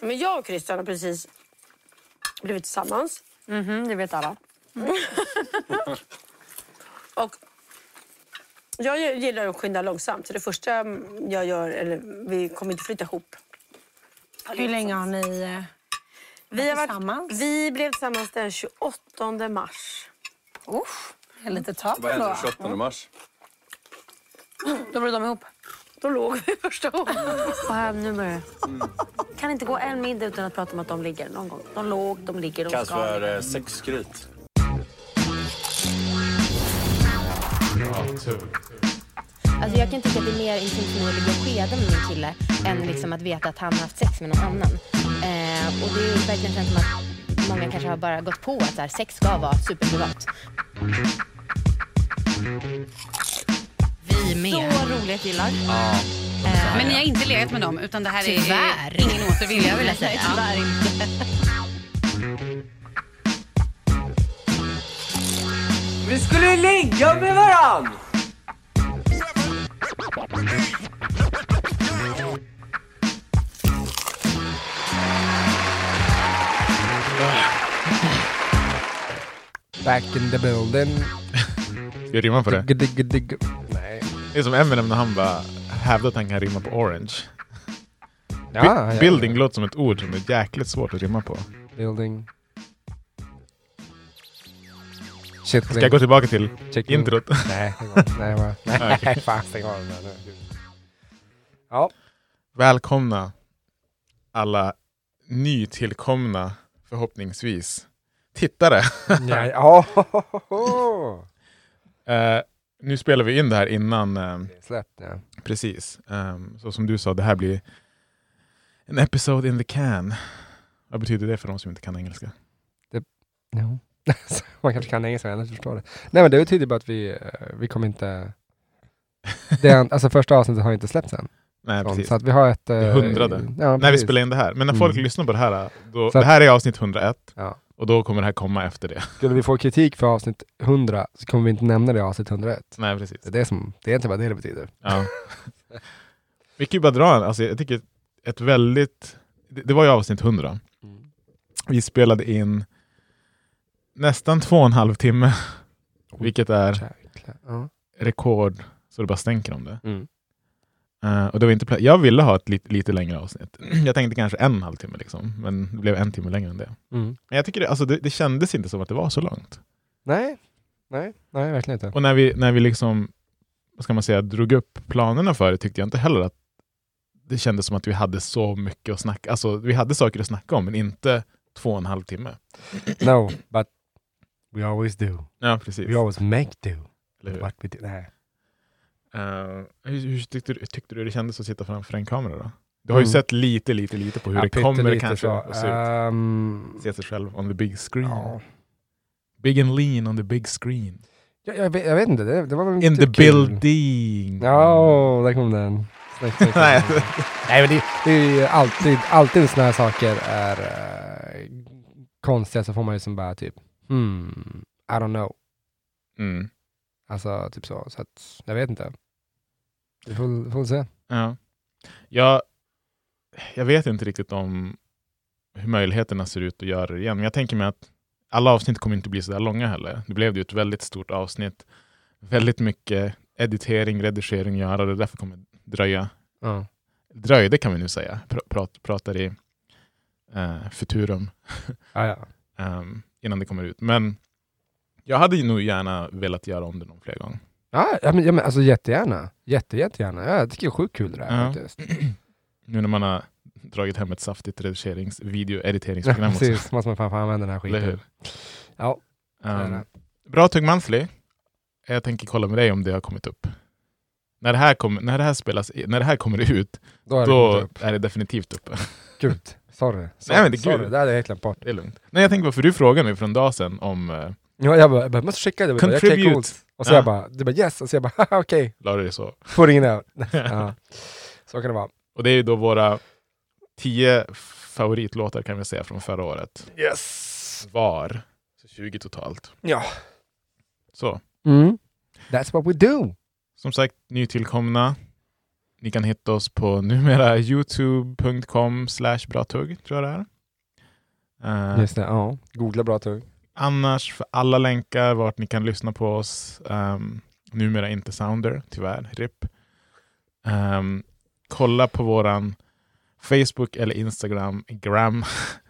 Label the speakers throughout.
Speaker 1: Men jag och Christian har precis blivit tillsammans.
Speaker 2: Mhm, det vet alla.
Speaker 1: Och jag gillar att skynda långsamt. Så det första jag gör, eller vi kommer inte flytta ihop.
Speaker 3: Hur länge har ni... eh,
Speaker 1: Vi, har
Speaker 3: Tillsammans?
Speaker 1: vi blev tillsammans den 28 mars.
Speaker 3: Usch, det är lite tag
Speaker 4: Vad
Speaker 3: ändå.
Speaker 4: händer den 28 mars?
Speaker 3: Då blir de ihop.
Speaker 1: Då låg vi första gången.
Speaker 2: Vad här, nu börjar det. Kan inte gå en middag utan att prata om att de ligger någon gång. De låg, de ligger, de
Speaker 4: Kallas
Speaker 2: ska. ligga.
Speaker 4: för eh, sexskryt.
Speaker 5: Alltså jag kan tycka att det är mer intimt för mig att ligga och skeda med min kille än liksom att veta att han har haft sex med någon annan. Eh, och det är verkligen känns som att många kanske har bara gått på att så här, sex ska vara superprivat.
Speaker 6: Vi med.
Speaker 7: Så roligt gillar.
Speaker 6: Men ni har inte legat med dem utan det här
Speaker 5: Eh, Tyvärr.
Speaker 6: är ingen återvinning.
Speaker 5: Skulle jag vilja säga.
Speaker 6: Nej, tyvärr inte.
Speaker 8: Vi skulle ju ligga med varann!
Speaker 9: Back in the building.
Speaker 10: Ska jag rimma på det?
Speaker 9: Digg, digg, digg. Nej.
Speaker 10: Det är som Eminem när han bara hävdar att han kan rimma på orange.
Speaker 9: Ja,
Speaker 10: Bi-
Speaker 9: ja, ja.
Speaker 10: building låter som ett ord som är jäkligt svårt att rimma på.
Speaker 9: Building.
Speaker 10: Ska jag gå tillbaka till
Speaker 9: Mm.
Speaker 10: introt?
Speaker 9: Nej, det går- nej, bara-
Speaker 10: Ja,
Speaker 9: nej, fan stäng av den där nu. Ja,
Speaker 10: Välkomna alla nytillkomna, förhoppningsvis, tittare.
Speaker 9: nej, ja. Oh.
Speaker 10: Eh, nu spelar vi in det här innan, eh,
Speaker 9: Släpp det.
Speaker 10: precis. Ehm, så som du sa, det här blir en episode in the can. Vad betyder det för de som inte kan engelska?
Speaker 9: No. Man kanske kan engelska, jag förstår det. Nej, men det betyder bara att vi, eh, vi kommer inte... Det är, en- alltså första avsnittet har ju inte släppts än.
Speaker 10: Nej,
Speaker 9: Sånt,
Speaker 10: precis.
Speaker 9: Så att vi har ett... eh,
Speaker 10: Det hundrade.
Speaker 9: Ja,
Speaker 10: När vi
Speaker 9: precis.
Speaker 10: spelar in det här. Men när folk
Speaker 9: Mm.
Speaker 10: lyssnar på det här, då,
Speaker 9: Så att-
Speaker 10: det här är avsnitt 101
Speaker 9: Ja.
Speaker 10: och då kommer det här komma efter det.
Speaker 9: Skulle vi få kritik för avsnitt 100 så kommer vi inte nämna det i avsnitt 101.
Speaker 10: Nej, precis.
Speaker 9: Det är, det som, det är inte bara det det betyder.
Speaker 10: Ja. Vi kan ju bara dra en, alltså jag tycker ett väldigt, det, det var ju avsnitt 100. Vi spelade in nästan två och en halv timme, vilket är
Speaker 9: Jäklar. Ja.
Speaker 10: rekord så det bara stänker om det.
Speaker 9: Mm.
Speaker 10: Eh, och det var inte pla- jag ville ha ett lite, lite längre avsnitt. Jag tänkte kanske en och en halv timme, liksom, men det blev en timme längre än det.
Speaker 9: Mm.
Speaker 10: Men jag tycker det, alltså det, det kändes inte som att det var så långt.
Speaker 9: Nej. Nej, nej, verkligen inte.
Speaker 10: Och när vi, när vi liksom, vad ska man säga, drog upp planerna för det tyckte jag inte heller att det kändes som att vi hade så mycket att snacka Alltså vi hade saker att snacka om, men inte två och en halv timme.
Speaker 9: No, but we always do.
Speaker 10: Ja, precis.
Speaker 9: We always make do.
Speaker 10: Eller hur?
Speaker 9: What we do. Nej.
Speaker 10: Eh, hur hur tyckte, du, tyckte du det kändes att sitta framför en kamera då? Du har ju
Speaker 9: Mm.
Speaker 10: sett lite, lite, lite på hur
Speaker 9: Ja,
Speaker 10: det kommer
Speaker 9: pyttelite
Speaker 10: kanske
Speaker 9: så.
Speaker 10: att se ut.
Speaker 9: Ehm,
Speaker 10: Se sig själv on the big screen.
Speaker 9: ja.
Speaker 10: Big and lean on the big screen.
Speaker 9: jag, jag, vet, jag vet inte, det, det var väl
Speaker 10: In
Speaker 9: inte
Speaker 10: the
Speaker 9: kul.
Speaker 10: building.
Speaker 9: Ja, där kom den. Snyggt, snyggt.
Speaker 10: Nej.
Speaker 9: Nej, men det, det är ju alltid, alltid sådana här saker är eh, konstiga så får man ju som bara typ, hmm, I don't know.
Speaker 10: Mm.
Speaker 9: Alltså typ så, så att jag vet inte. Vi får, får se.
Speaker 10: Ja. Jag, jag vet inte riktigt om hur möjligheterna ser ut att göra det igen, men jag tänker mig att alla avsnitt kommer inte bli så där långa heller. Det blev ju ett väldigt stort avsnitt. Väldigt mycket editering, redigering göra, det därför kommer det dröja.
Speaker 9: Ja.
Speaker 10: Dröjde kan vi nu säga, Pr- prat, pratar i eh, futurum
Speaker 9: Ja, ja.
Speaker 10: ehm, innan det kommer ut. Men jag hade ju nog gärna velat göra om det någon fler gång.
Speaker 9: Ja, ja, men, ja, men alltså jättegärna. Jätte, jättegärna. Ja, jag tycker det är sjukt kul det där
Speaker 10: Ja.
Speaker 9: faktiskt.
Speaker 10: Nu när man har dragit hem ett saftigt redigerings,
Speaker 9: Ja,
Speaker 10: video-editeringsprogram också.
Speaker 9: precis. Måste man fan få använda den här
Speaker 10: Eller hur?
Speaker 9: skiten. Ja.
Speaker 10: Ehm,
Speaker 9: Ja.
Speaker 10: bra Tug Monthly. Jag tänker kolla med dig om det har kommit upp. När det här, kom, när det här, spelas, i- när det här kommer ut,
Speaker 9: Då är det
Speaker 10: då
Speaker 9: kommit upp.
Speaker 10: är det definitivt uppe.
Speaker 9: Gud, sorry. sorry.
Speaker 10: Nej, men det är
Speaker 9: sorry.
Speaker 10: kul.
Speaker 9: Det hade jag helt glömt bort.
Speaker 10: Det är lugnt. Nej, jag tänker på, för du frågade mig för en dag sedan om... Eh,
Speaker 9: Ja, jag, bara, jag bara, måste skicka det. Jag bara, okej,
Speaker 10: Contribute.
Speaker 9: coolt. Och så
Speaker 10: Ja.
Speaker 9: jag bara, du bara yes. Och så jag bara, haha, okej,
Speaker 10: la du det så?
Speaker 9: putting it out. ja. Så kan det vara.
Speaker 10: Och det är ju då våra tio favoritlåtar kan vi säga från förra året.
Speaker 9: Yes!
Speaker 10: Var. Så 20 totalt.
Speaker 9: Ja.
Speaker 10: Så.
Speaker 9: Mm. That's what we do.
Speaker 10: Som sagt, nytillkomna. Ni kan hitta oss på numera youtube.com slash bratugg, tror jag det är. Eh,
Speaker 9: Just det, ja. Googla bra tugg.
Speaker 10: Annars, för alla länkar vart ni kan lyssna på oss, um, numera inte Sounder, tyvärr, RIP. Ehm, kolla på våran Facebook eller Instagram, gram,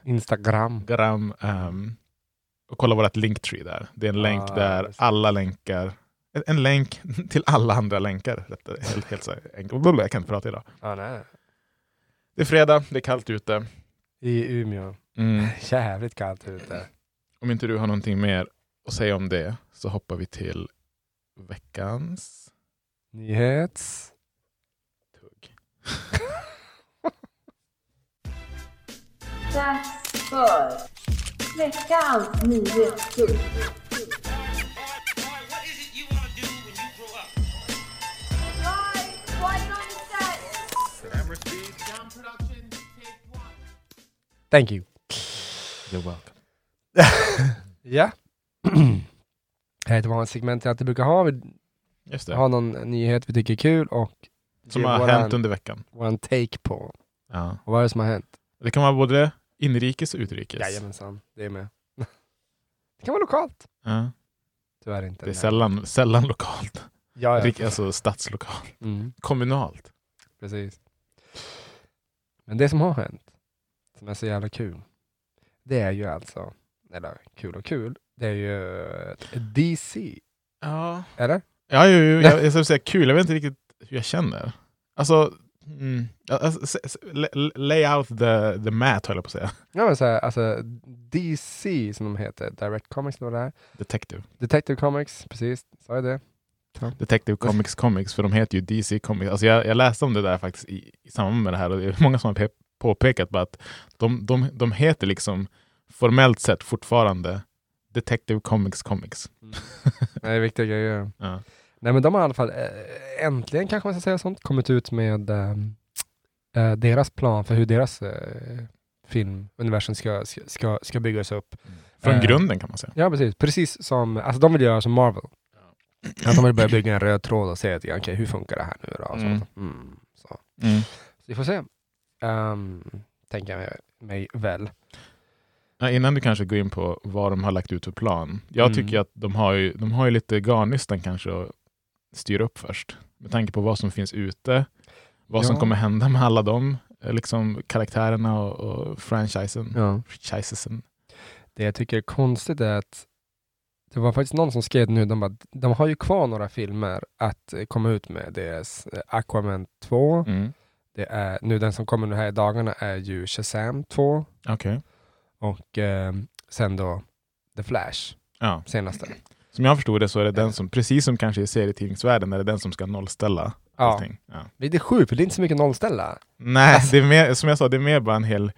Speaker 9: Instagram.
Speaker 10: gram ehm, och kolla vårt Linktree där. Det är en länk
Speaker 9: Ah,
Speaker 10: där
Speaker 9: just det.
Speaker 10: alla länkar, en- en länk till alla andra länkar. rättare- Helt, helt så här enkelt. Blablabla, Jag kan inte prata idag.
Speaker 9: Ja, nej.
Speaker 10: Det är fredag, det är kallt ute.
Speaker 9: I Umeå.
Speaker 10: Mm.
Speaker 9: Jävligt kallt ute.
Speaker 10: Om inte du har någonting mer att säga om det så hoppar vi till veckans
Speaker 9: Nyhets...
Speaker 10: tugg.
Speaker 4: Dags för veckans nyhetstugg.
Speaker 9: Thank you.
Speaker 10: You're welcome.
Speaker 9: Ja. Det här är ett vanligt segment jag alltid brukar ha. Vi
Speaker 10: Just det,
Speaker 9: har någon nyhet vi tycker är kul och
Speaker 10: som
Speaker 9: ger
Speaker 10: har
Speaker 9: våran,
Speaker 10: hänt under veckan.
Speaker 9: våran take på
Speaker 10: Ja.
Speaker 9: vad är det som har hänt.
Speaker 10: Det kan vara både inrikes och utrikes.
Speaker 9: Jajamensan, det är med. det kan vara lokalt.
Speaker 10: Ja.
Speaker 9: Tyvärr inte.
Speaker 10: Det
Speaker 9: Nej.
Speaker 10: är sällan, sällan lokalt.
Speaker 9: Ja, ja.
Speaker 10: Rik- Alltså stadslokalt.
Speaker 9: Mm,
Speaker 10: Kommunalt.
Speaker 9: precis. Men det som har hänt, som är så jävla kul, det är ju alltså, eller kul och kul, det är ju eh, DC,
Speaker 10: Ja,
Speaker 9: eller?
Speaker 10: ja ju, ju, jag, jag skulle säga kul. Jag vet inte riktigt hur jag känner. Alltså, mm, alltså s- s- la- la- lay out the, the mat, höll jag på att säga.
Speaker 9: Ja, men så här, alltså DC som de heter, Direct Comics, eller vad det här.
Speaker 10: Detective.
Speaker 9: Detective Comics, precis, sa jag det?
Speaker 10: Detective Comics Comics, för de heter ju DC Comics. Alltså jag, jag läste om det där faktiskt i, i samband med det här och det är många som har pe- påpekat bara att de, de, de heter liksom formellt sett fortfarande Detective Comics Comics.
Speaker 9: Nej, det är viktiga grejer.
Speaker 10: Ja.
Speaker 9: Nej, men de har i alla fall eh, äntligen, kanske man ska säga sånt, kommit ut med ehm, eh, deras plan för hur deras eh, filmuniversum ska, ska- ska, ska byggas upp.
Speaker 10: Från
Speaker 9: Eh.
Speaker 10: grunden kan man säga.
Speaker 9: Ja, precis. Precis som, alltså de vill göra som Marvel. Att de vill börja bygga en röd tråd och se att, okej, hur funkar det här nu då? Och
Speaker 10: Mm.
Speaker 9: sånt. Mm, så. så vi får se. Um, tänker jag mig- mig väl.
Speaker 10: Ja, innan du kanske går in på vad de har lagt ut för plan. Jag
Speaker 9: Mm.
Speaker 10: tycker att de har, ju, de har ju lite garnnystan kanske att styra upp först. Med tanke på vad som finns ute, vad som
Speaker 9: Ja.
Speaker 10: kommer hända med alla de eh, liksom, karaktärerna och, och franchisen. Franchisesen.
Speaker 9: Det jag tycker är konstigt är att det var faktiskt någon som skrev nu, de, bara, de har ju kvar några filmer att eh, komma ut med. Deras eh, Aquaman 2,
Speaker 10: Mm.
Speaker 9: det är, nu den som kommer nu här i dagarna är ju Shazam 2
Speaker 10: Okej.
Speaker 9: och eh, sen då The Flash,
Speaker 10: Ja.
Speaker 9: senaste.
Speaker 10: Som jag förstod det så är det den som, precis som kanske i serietidningsvärlden, är det den som ska nollställa
Speaker 9: Ja,
Speaker 10: allting. Ja.
Speaker 9: det är sjukt, för det är inte så mycket nollställa.
Speaker 10: Nej,
Speaker 9: Alltså.
Speaker 10: det är mer, som jag sa, det är mer bara en hel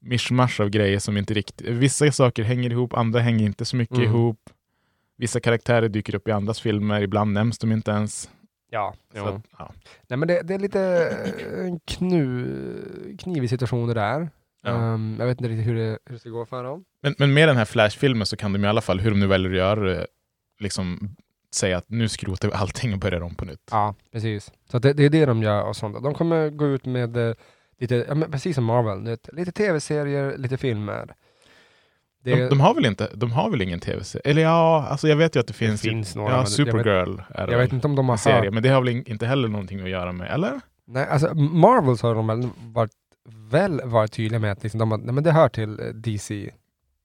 Speaker 10: mischmasch av grejer som inte riktigt... Vissa saker hänger ihop, andra hänger inte så mycket
Speaker 9: Mm.
Speaker 10: ihop. Vissa karaktärer dyker upp i andras filmer, ibland nämns de inte ens.
Speaker 9: Ja,
Speaker 10: Så, att, ja.
Speaker 9: Nej, men det, det är lite eh, en knu, knivig situation det där.
Speaker 10: Ja.
Speaker 9: Ehm, jag vet inte riktigt hur det, hur det ska gå för dem.
Speaker 10: Men, men med den här Flash-filmen så kan de i alla fall, hur de nu väljer att göra det, liksom säga att nu skrotar vi allting och börjar om på nytt.
Speaker 9: Ja, precis. Så att det, det är det de gör och sånt. De kommer gå ut med eh, lite, ja, men precis som Marvel, du vet, lite tv-serier, lite filmer. Det,
Speaker 10: De, de har väl inte, de har väl ingen tv-serie? Eller ja, alltså jag vet ju att det
Speaker 9: det
Speaker 10: finns.
Speaker 9: finns några. men
Speaker 10: ja,
Speaker 9: jag vet,
Speaker 10: Supergirl är det
Speaker 9: jag
Speaker 10: väl.
Speaker 9: vet inte om de har hört.
Speaker 10: serie, men det har väl in- inte heller någonting att göra med, eller?
Speaker 9: Nej, alltså Marvels har de väl varit, väl varit tydliga med att liksom de har, nej, men det hör till eh, DC.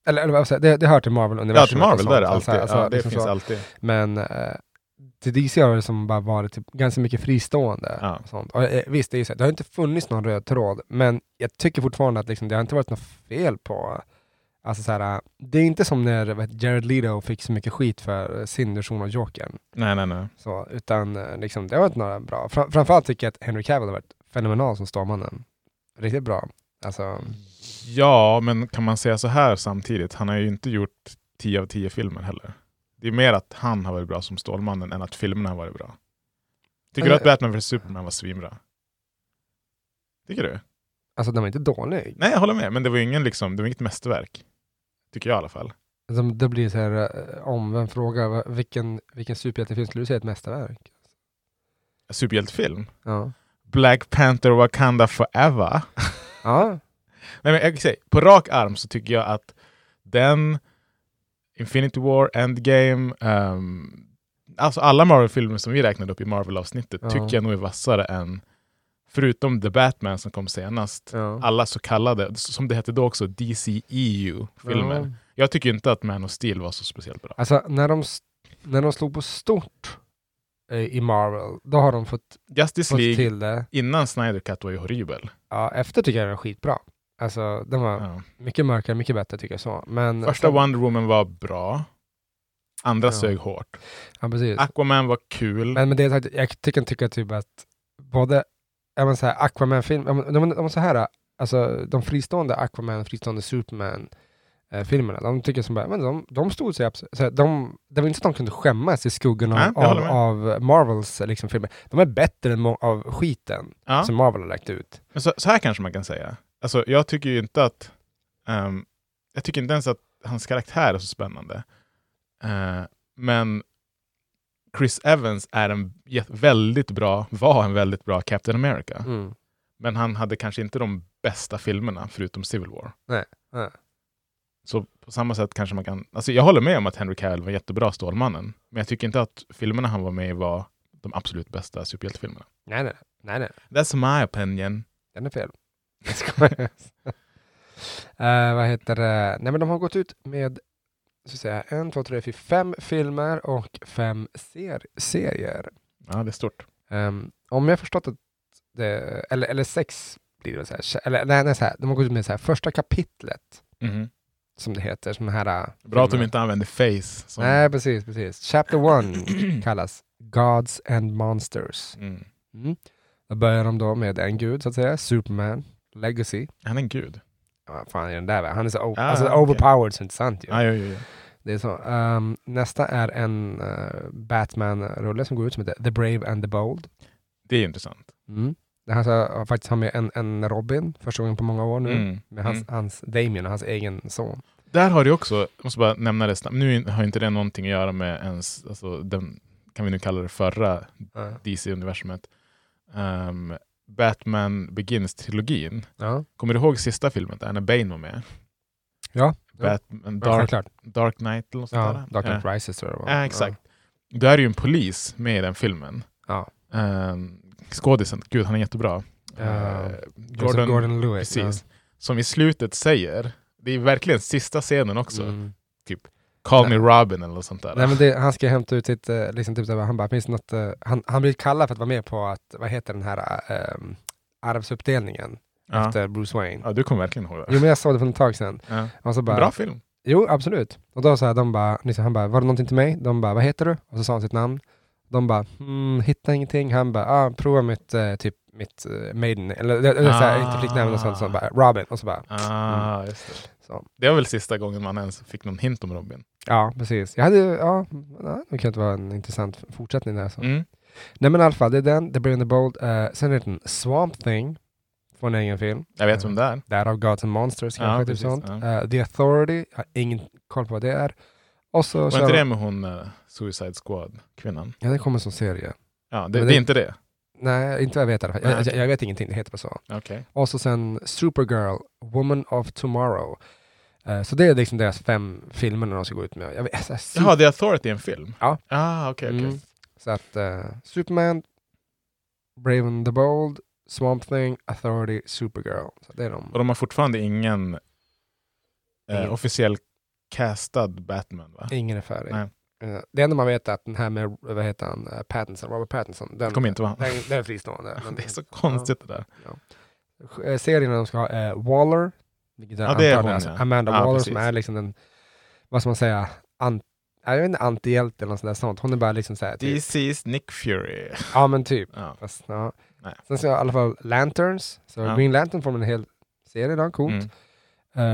Speaker 9: Eller, eller vad säger jag, det, det hör till Marvel-universumet.
Speaker 10: Ja, till Marvel,
Speaker 9: och sånt.
Speaker 10: där är det
Speaker 9: Alltså,
Speaker 10: alltid.
Speaker 9: alltså,
Speaker 10: ja, det
Speaker 9: liksom
Speaker 10: finns
Speaker 9: så.
Speaker 10: alltid.
Speaker 9: Men eh, till DC har det som bara varit typ, ganska mycket fristående.
Speaker 10: Ja.
Speaker 9: Och sånt. Och, eh, visst, det, är ju så, här, det har inte funnits någon röd tråd, men jag tycker fortfarande att liksom, det har inte varit något fel på... Alltså, så här, eh, det är inte som när vet, Jared Leto fick så mycket skit för eh, sin version av Jokern.
Speaker 10: Nej, nej, nej.
Speaker 9: Så, utan eh, liksom, det har varit några bra. Fra- framförallt tycker jag att Henry Cavill har varit fenomenal som Stålmannen. Riktigt bra. Alltså,
Speaker 10: Ja, men kan man säga så här samtidigt? Han har ju inte gjort 10 av 10 filmer heller. Det är mer att han har varit bra som Stålmannen än att filmerna har varit bra. Tycker
Speaker 9: Men-
Speaker 10: du att Batman vs Superman var svinbra? Tycker du?
Speaker 9: alltså den var inte dålig.
Speaker 10: Nej, jag håller med. Men det var ju ingen, liksom, det var inget mästerverk. Tycker jag i alla fall.
Speaker 9: Alltså, det blir så här eh, omvänd fråga. Va- Vilken, vilken superhjältefilm skulle du säga är ett mästerverk?
Speaker 10: Superhjältefilm?
Speaker 9: Ja.
Speaker 10: Black Panther Wakanda Forever.
Speaker 9: Ja.
Speaker 10: Nej, men jag kan säga, på rak arm så tycker jag att den, Infinity War, Endgame, ehm, alltså alla Marvel-filmer som vi räknade upp i Marvel-avsnittet
Speaker 9: Ja.
Speaker 10: tycker jag nog är vassare än, förutom The Batman som kom senast,
Speaker 9: ja.
Speaker 10: alla så kallade, som det hette då också, DCEU-filmer.
Speaker 9: Ja.
Speaker 10: Jag tycker inte att Man of Steel var så speciellt bra.
Speaker 9: Alltså när de, s- när de slog på stort eh, i Marvel, då har de fått,
Speaker 10: Justice
Speaker 9: fått
Speaker 10: League
Speaker 9: till det.
Speaker 10: innan Snyder Cut var ju horribel.
Speaker 9: Ja, efter tycker jag den är skitbra. Alltså den var
Speaker 10: Ja.
Speaker 9: mycket mörkare, mycket bättre tycker jag så. Men
Speaker 10: Första Wonder Woman var bra, andra
Speaker 9: Ja.
Speaker 10: sög hårt.
Speaker 9: Ja,
Speaker 10: Ah,
Speaker 9: precis.
Speaker 10: Aquaman var kul.
Speaker 9: Men med det sagt, jag tycker, tycker typ att både, ja men så här, Aquaman-film, ja, men- ja, men de, så här, alltså de fristående Aquaman, fristående Superman, eh, filmerna, de tycker som bara, men de, de stod sig absolut, så här, de, det var inte så att de kunde skämmas i skuggan av,
Speaker 10: Nej, jag
Speaker 9: av,
Speaker 10: håller
Speaker 9: av Marvels liksom, filmer. De är bättre än må- av skiten
Speaker 10: ja.
Speaker 9: som Marvel har lagt ut.
Speaker 10: Men så, så här kanske man kan säga. Alltså, jag tycker ju inte att... ehm, jag tycker inte ens att hans karaktär är så spännande. Eh, men Chris Evans är en jät- väldigt bra, var en väldigt bra Captain America.
Speaker 9: Mm.
Speaker 10: Men han hade kanske inte de bästa filmerna förutom Civil War.
Speaker 9: Nej, nej.
Speaker 10: Så på samma sätt kanske man kan... Alltså jag håller med om att Henry Cavill var jättebra Stålmannen. Men jag tycker inte att filmerna han var med i var de absolut bästa superhjältefilmerna.
Speaker 9: Nej, nej, nej, nej,
Speaker 10: That's my opinion.
Speaker 9: den är fel. Jag skojar. Eh, vad heter det? Nej men de har gått ut med så att säga, en, två, tre, fyra, fem filmer och fem ser- serier.
Speaker 10: Ja, det är stort.
Speaker 9: Ehm, om jag förstått att det, eller, eller sex blir det väl så här, eller nej, nej så här, de har gått ut med så här, första kapitlet
Speaker 10: Mhm.
Speaker 9: som det heter, som den här... eh,
Speaker 10: Bra att de
Speaker 9: filmen.
Speaker 10: inte använder face. Som...
Speaker 9: Nej, precis, precis. Chapter one kallas Gods and Monsters.
Speaker 10: Mm.
Speaker 9: Mm. Då börjar de då med en gud, så att säga, Superman, Legacy.
Speaker 10: Han är en gud.
Speaker 9: Ja, Vad fan är den där? va? Han är så o-
Speaker 10: Ah,
Speaker 9: alltså,
Speaker 10: okej. Ah.
Speaker 9: overpowered så det är inte sant ju.
Speaker 10: Ja, ja, ja, ja.
Speaker 9: Det är så. Ehm, nästa är en eh, Batman-rulle som går ut som heter The Brave and the Bold.
Speaker 10: Det är ju intressant.
Speaker 9: Mm. Där han ska faktiskt ha med en, en Robin, första gången på många år nu.
Speaker 10: Mm.
Speaker 9: Med hans,
Speaker 10: Mm.
Speaker 9: hans Damien, hans egen son.
Speaker 10: Där har du också, jag måste bara nämna det snabbt, nu har inte det någonting att göra med ens, alltså, den, kan vi nu kalla det förra
Speaker 9: Ja.
Speaker 10: DC-universumet, Ehm, Batman Begins-trilogin.
Speaker 9: Ja,
Speaker 10: Kommer du ihåg sista filmen där när Bane var med?
Speaker 9: Ja.
Speaker 10: Batman,
Speaker 9: ja
Speaker 10: Dark,
Speaker 9: självklart.
Speaker 10: Dark Knight eller något sånt
Speaker 9: Ja,
Speaker 10: där.
Speaker 9: Dark
Speaker 10: Ja.
Speaker 9: Knight Rises tror jag det var.
Speaker 10: Ja, exakt. Då är det ju en polis med i den filmen.
Speaker 9: Ja.
Speaker 10: Ehm, skådisen, gud han är jättebra.
Speaker 9: Ja.
Speaker 10: Eh,
Speaker 9: Ja. Gordon, Gordon Lewis.
Speaker 10: Precis. Som i slutet säger, det är verkligen sista scenen också,
Speaker 9: Ja. Mm.
Speaker 10: Call
Speaker 9: Nej.
Speaker 10: me Robin eller något sånt där.
Speaker 9: Nej, men det, han ska hämta ut sitt, eh, liksom, typ, så här, han bara, finns det något, eh, han, han blir kallad för att vara med på att, vad heter den här eh, arvsuppdelningen
Speaker 10: ja.
Speaker 9: efter Bruce Wayne.
Speaker 10: ja, du kommer verkligen ihåg det.
Speaker 9: Jo men jag såg det för ett tag sedan.
Speaker 10: Ja.
Speaker 9: Och så bara,
Speaker 10: Bra film.
Speaker 9: Jo, absolut. Och då sa de bara, liksom, han bara, var det någonting till mig? De bara, vad heter du? Och så sa han sitt namn. De bara, mm, hitta ingenting. Han bara, ah, prova mitt, eh, typ, mitt eh, maiden, eller, eller, eller så här,
Speaker 10: Ah.
Speaker 9: inte flicknamn och sånt. Så bara, Robin. Och så bara,
Speaker 10: Ah, just det.
Speaker 9: Så.
Speaker 10: det var väl sista gången man ens fick någon hint om Robin.
Speaker 9: ja precis. Jag hade, ja, ja, det kan inte vara en intressant fortsättning där. Så.
Speaker 10: Mm.
Speaker 9: Nej men i alla fall, det är den, The Brave and the Bold. Eh, sen är det en Swamp Thing, från en egen film.
Speaker 10: Jag vet vem det är.
Speaker 9: Därav Gods and Monsters
Speaker 10: Ja,
Speaker 9: kanske, typ
Speaker 10: precis,
Speaker 9: sånt. Eh, The Authority, jag har ingen koll på vad det är. Och så
Speaker 10: Var
Speaker 9: kör
Speaker 10: inte
Speaker 9: de-
Speaker 10: det med hon eh, Suicide Squad-kvinnan?
Speaker 9: Ja, det kommer som serie.
Speaker 10: Ja, det,
Speaker 9: Men
Speaker 10: det,
Speaker 9: det-
Speaker 10: är inte det.
Speaker 9: Nej, inte vad jag vet i alla fall.
Speaker 10: Nej,
Speaker 9: Jag, jag,
Speaker 10: okej.
Speaker 9: jag vet ingenting, det heter bara så.
Speaker 10: Okej.
Speaker 9: Och så sen Supergirl, Woman of Tomorrow. Eh, Så det är liksom deras fem filmer när de ska gå ut med. Jag vet, så, här, super-
Speaker 10: Jaha, The Authority är en film?
Speaker 9: Ja.
Speaker 10: Ah, okej, okej.
Speaker 9: Mm. så att eh, Superman, Brave and the Bold, Swamp Thing, Authority, Supergirl. Så det är de.
Speaker 10: Och de har fortfarande ingen
Speaker 9: Ingen.
Speaker 10: eh, officiell castad Batman, va?
Speaker 9: Ingen är färdig.
Speaker 10: Nej.
Speaker 9: Eh, Det enda man vet är att den här med, vad heter han, eh, Pattinson, Robert Pattinson, den,
Speaker 10: Det kommer inte vara
Speaker 9: den, den är fristående. Men,
Speaker 10: Det är så konstigt det där.
Speaker 9: eh, serien de ska ha är Waller, vilket jag
Speaker 10: Ja, det är
Speaker 9: antar
Speaker 10: hon,
Speaker 9: alltså
Speaker 10: ja.
Speaker 9: Amanda
Speaker 10: Ja,
Speaker 9: Waller
Speaker 10: precis.
Speaker 9: som är liksom den, vad ska man säga, an, jag vet inte, antihjälte eller något sånt där sånt. Hon är bara liksom såhär, typ,
Speaker 10: DC's Nick Fury.
Speaker 9: ja men typ.
Speaker 10: Ja.
Speaker 9: Fast, ja.
Speaker 10: Nej.
Speaker 9: Sen ska jag i alla fall Lanterns, så
Speaker 10: Ja.
Speaker 9: Green Lantern får man en hel serie då, coolt.
Speaker 10: Mm.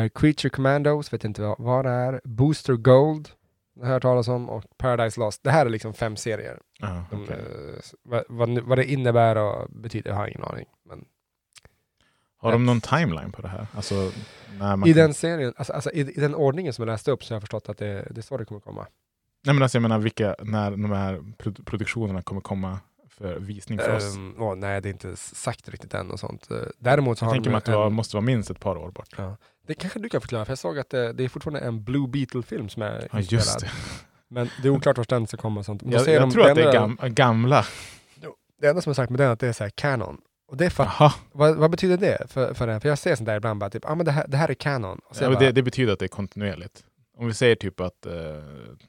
Speaker 9: Eh, Creature Commandos, vet inte vad, vad det är. Booster Gold, det har jag hört talas om, och Paradise Lost. Det här är liksom fem serier.
Speaker 10: Ja,
Speaker 9: De,
Speaker 10: okej.
Speaker 9: eh, s- vad, vad, nu- vad det innebär och betyder, jag har ingen aning. Men
Speaker 10: Har de någon timeline på det här? Alltså, när man
Speaker 9: I
Speaker 10: kan-
Speaker 9: den serien, alltså, alltså i, i den ordningen som jag läste upp så har jag förstått att det, det är så det kommer komma.
Speaker 10: Nej, men alltså, jag menar vilka, när de här produ- produktionerna kommer komma för visning för oss?
Speaker 9: Ehm, åh, nej, det är inte sagt riktigt än och sånt. Eh, Däremot så
Speaker 10: Jag
Speaker 9: har
Speaker 10: tänker
Speaker 9: de
Speaker 10: mig att det
Speaker 9: en-
Speaker 10: var, måste vara minst ett par år bort.
Speaker 9: Det kanske du kan förklara, för jag såg att eh, det, det är fortfarande en Blue Beetle-film som är
Speaker 10: Ja, just det.
Speaker 9: Men det är oklart vart den ska komma och sånt. Men då
Speaker 10: Jag,
Speaker 9: säger
Speaker 10: jag
Speaker 9: de-
Speaker 10: tror att det
Speaker 9: enda
Speaker 10: är
Speaker 9: de-
Speaker 10: gam, gamla.
Speaker 9: Det enda som är sagt med den är att det är så här canon. Och det är fan,
Speaker 10: Jaha.
Speaker 9: vad, vad betyder det för, för den? För jag ser sånt där ibland, bara typ, ah, men det, här, det här är canon. Och så
Speaker 10: Ja,
Speaker 9: jag
Speaker 10: men
Speaker 9: bara,
Speaker 10: det, det betyder att det är kontinuerligt. Om vi säger typ att, eh,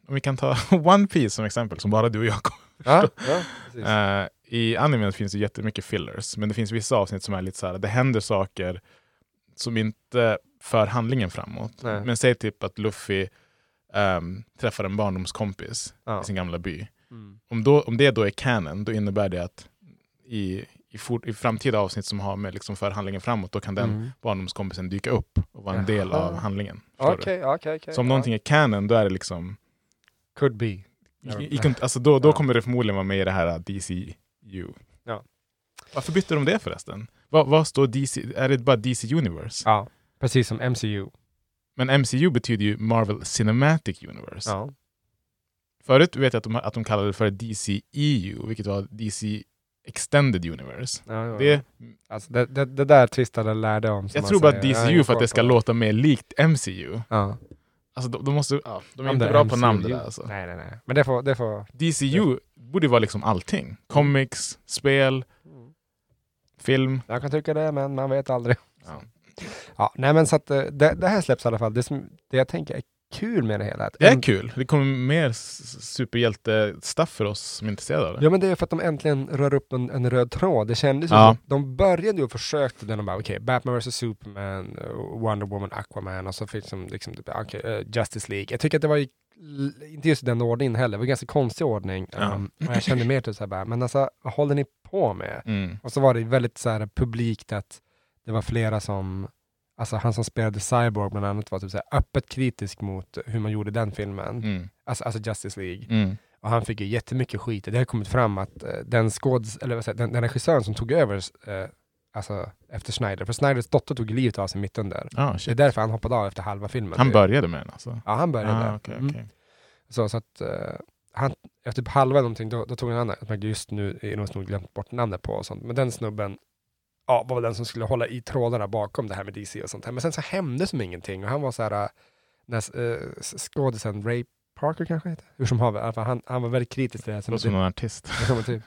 Speaker 10: om vi kan ta One Piece som exempel, som bara du och jag kom.
Speaker 9: ja, ja, precis.
Speaker 10: Eh, I animen finns det jättemycket fillers, men det finns vissa avsnitt som är lite så här, det händer saker som inte för handlingen framåt.
Speaker 9: Nej.
Speaker 10: Men säg typ att Luffy ehm, träffar en barndomskompis
Speaker 9: Ja.
Speaker 10: i sin gamla by.
Speaker 9: Mm.
Speaker 10: Om, då, om det då är canon, då innebär det att i, i, fort, i framtida avsnitt som har med liksom för handlingen framåt, då kan den
Speaker 9: Mm.
Speaker 10: barndomskompisen dyka upp och vara en del
Speaker 9: Jaha.
Speaker 10: av handlingen. Förstår du?
Speaker 9: Okej, okej, okej.
Speaker 10: Så om någonting är canon, då är det liksom...
Speaker 9: Could be. Ja.
Speaker 10: I, i, kont- alltså då, då
Speaker 9: Ja.
Speaker 10: kommer det förmodligen vara med i det här äh, DCU.
Speaker 9: Ja.
Speaker 10: Varför bytte de det förresten? Vad, vad står DC? Är det bara DC Universe?
Speaker 9: Ja, precis som MCU.
Speaker 10: Men MCU betyder ju Marvel Cinematic Universe.
Speaker 9: Ja.
Speaker 10: Förut vet jag att de, att de kallade det för DCEU, vilket var DC Extended Universe.
Speaker 9: Ja, ja.
Speaker 10: Det,
Speaker 9: Alltså, det, det, det där twistade lärde om. som
Speaker 10: jag
Speaker 9: man
Speaker 10: tror bara
Speaker 9: säger. Jag har
Speaker 10: DCU
Speaker 9: ingen
Speaker 10: för att
Speaker 9: koll
Speaker 10: det ska
Speaker 9: på
Speaker 10: låta mer likt MCU.
Speaker 9: Ja.
Speaker 10: Alltså de, de, måste, ja, de är
Speaker 9: Ja,
Speaker 10: inte
Speaker 9: men
Speaker 10: bra på
Speaker 9: MCU.
Speaker 10: namn det där alltså.
Speaker 9: Nej, nej, nej. Men det får... Det får
Speaker 10: DCU borde ju vara liksom allting. Comics, spel, film.
Speaker 9: Mm. jag kan tycka det, men man vet aldrig.
Speaker 10: Ja.
Speaker 9: Ja, nej, men så att eh, det, det här släpps i alla fall. Det, som, det jag tänker är kul med det hela. är att
Speaker 10: Det är
Speaker 9: en-
Speaker 10: kul. Det kommer mer s- superhjälte-stuff för oss som är intresserade av det.
Speaker 9: Ja men det är för att de äntligen rör upp en, en röd tråd. Det kändes ju
Speaker 10: Ja.
Speaker 9: som, de började ju och försökte den och bara okej, Batman vs Superman, eh, Wonder Woman, Aquaman och så fick de liksom, typ, okej, eh, Justice League. Jag tycker att det var ju, l- inte just den ordningen heller, det var en ganska konstig ordning.
Speaker 10: Ja.
Speaker 9: Um, och jag kände mer typ såhär bara, men alltså vad håller ni på med?
Speaker 10: Mm.
Speaker 9: Och så var det väldigt så här publikt att det var flera som, alltså han som spelade Cyborg bland annat var typ så här öppet kritisk mot hur man gjorde den filmen,
Speaker 10: Mm.
Speaker 9: alltså, alltså Justice League.
Speaker 10: Mm.
Speaker 9: Och han fick ju jättemycket skit. Det har kommit fram att eh, den, skåds, eller vad säger, jag, den, den regissören som tog över eh, alltså, efter Schneider, för Schneiders dotter tog livet av sig mitt under.
Speaker 10: Ah,
Speaker 9: Det är
Speaker 10: shit.
Speaker 9: därför han hoppade av efter halva filmen.
Speaker 10: Han
Speaker 9: typ.
Speaker 10: började med den alltså?
Speaker 9: Ja, han började
Speaker 10: Ah,
Speaker 9: där.
Speaker 10: okej,
Speaker 9: Mm.
Speaker 10: okej.
Speaker 9: Så, så att, eh, han, efter typ halva någonting, då, då tog han en annan. Men just nu är det någon som har glömt bort namnet på och sånt. Men den snubben ja, var väl den som skulle hålla i trådarna bakom det här med DC och sånt här. Men sen så hände som ingenting och han var så här, eh, när eh, skådisen Ray Parker kanske heter? Hur som haver, i alla fall, han, han var väldigt kritisk till det. här.
Speaker 10: Det
Speaker 9: Sen
Speaker 10: låter som någon artist. Ah,
Speaker 9: Ja, men typ.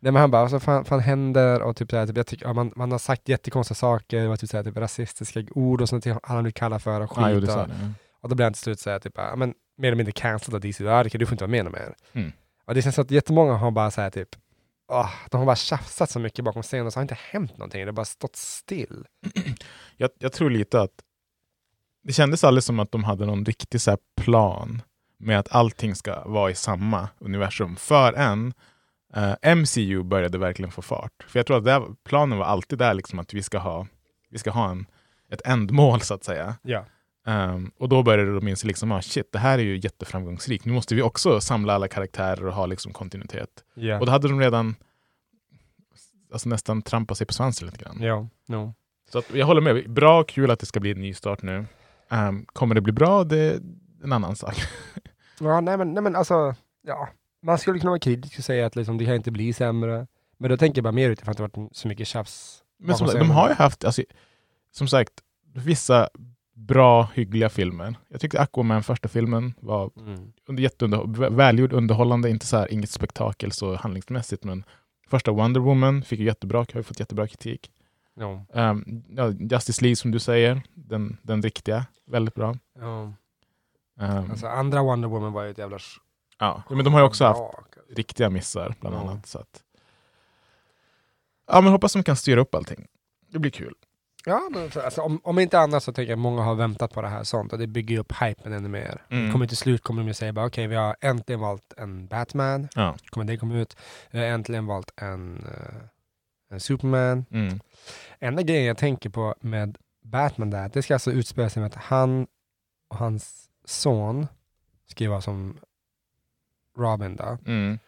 Speaker 9: Nej men han bara, alltså, fan, fan händer? Och typ, så här, typ, jag tycker, ja, man, man har sagt jättekonstiga saker, det var typ, så här, typ rasistiska ord och sånt till han har blivit kallad för och skit.
Speaker 10: Ah, jo, det sa
Speaker 9: och,
Speaker 10: det. ja.
Speaker 9: och då blev han till slut såhär, typ, ja, men, mer eller mindre cancelled av DC, ja, Rickard, du får inte vara med mer.
Speaker 10: Mm.
Speaker 9: Och det känns som att jättemånga har bara såhär typ, ah, de har bara tjafsat så mycket bakom scenen och så har inte hänt någonting, det har bara stått still.
Speaker 10: Jag, jag tror lite att det kändes aldrig som att de hade någon riktig så här plan med att allting ska vara i samma universum förrän eh, MCU började verkligen få fart. För jag tror att där, planen var alltid där liksom att vi ska ha, vi ska ha en, ett ändmål så att säga.
Speaker 9: Ja.
Speaker 10: Ehm, och då började de inse liksom, ah, shit, det här är ju jätteframgångsrikt. Nu måste vi också samla alla karaktärer och ha liksom kontinuitet.
Speaker 9: Ja.
Speaker 10: Och då hade de redan alltså, nästan trampat sig på svansen lite grann.
Speaker 9: Ja, no.
Speaker 10: Så att, jag håller med. Bra, kul att det ska bli en ny start nu. Ehm, kommer det bli bra? Det är en annan sak.
Speaker 9: ja nej, men, nej men alltså, ja. Man skulle kunna vara kritisk och säga att liksom, det kan inte bli sämre. Men då tänker jag bara mer utifrån att det har varit så mycket tjafs.
Speaker 10: Men som
Speaker 9: bakom
Speaker 10: sagt, de
Speaker 9: scenen.
Speaker 10: har ju haft, alltså, som sagt, vissa bra, hyggliga filmer. Jag tyckte Aquaman, första filmen, var
Speaker 9: Mm.
Speaker 10: under, jätteunderhå- vä- välgjord, underhållande, inte så här, inget spektakel så handlingsmässigt, men första Wonder Woman fick ju jättebra, har ju fått jättebra kritik.
Speaker 9: Ja.
Speaker 10: Ehm, ja, Justice League som du säger, den, den riktiga, väldigt bra.
Speaker 9: Ja.
Speaker 10: Ehm,
Speaker 9: Alltså andra Wonder Woman var ju ett jävla... sch-
Speaker 10: ja. Men de har ju också haft
Speaker 9: brak.
Speaker 10: riktiga missar bland
Speaker 9: Ja.
Speaker 10: annat. Så att... Ja, men hoppas de kan styra upp allting. Det blir kul.
Speaker 9: Ja, men så- alltså, om, om inte annat så tänker jag att många har väntat på det här sånt och det bygger ju upp hypen ännu mer.
Speaker 10: Mm.
Speaker 9: Kommer till slut kommer de ju säga bara okej, vi har äntligen valt en Batman,
Speaker 10: Ja.
Speaker 9: kommer det komma ut. Vi har äntligen valt en, eh, en Superman.
Speaker 10: Mm.
Speaker 9: Enda grejen jag tänker på med Batman där, det ska alltså utspela sig med att han och hans son ska ju vara som Robin då.
Speaker 10: Mm.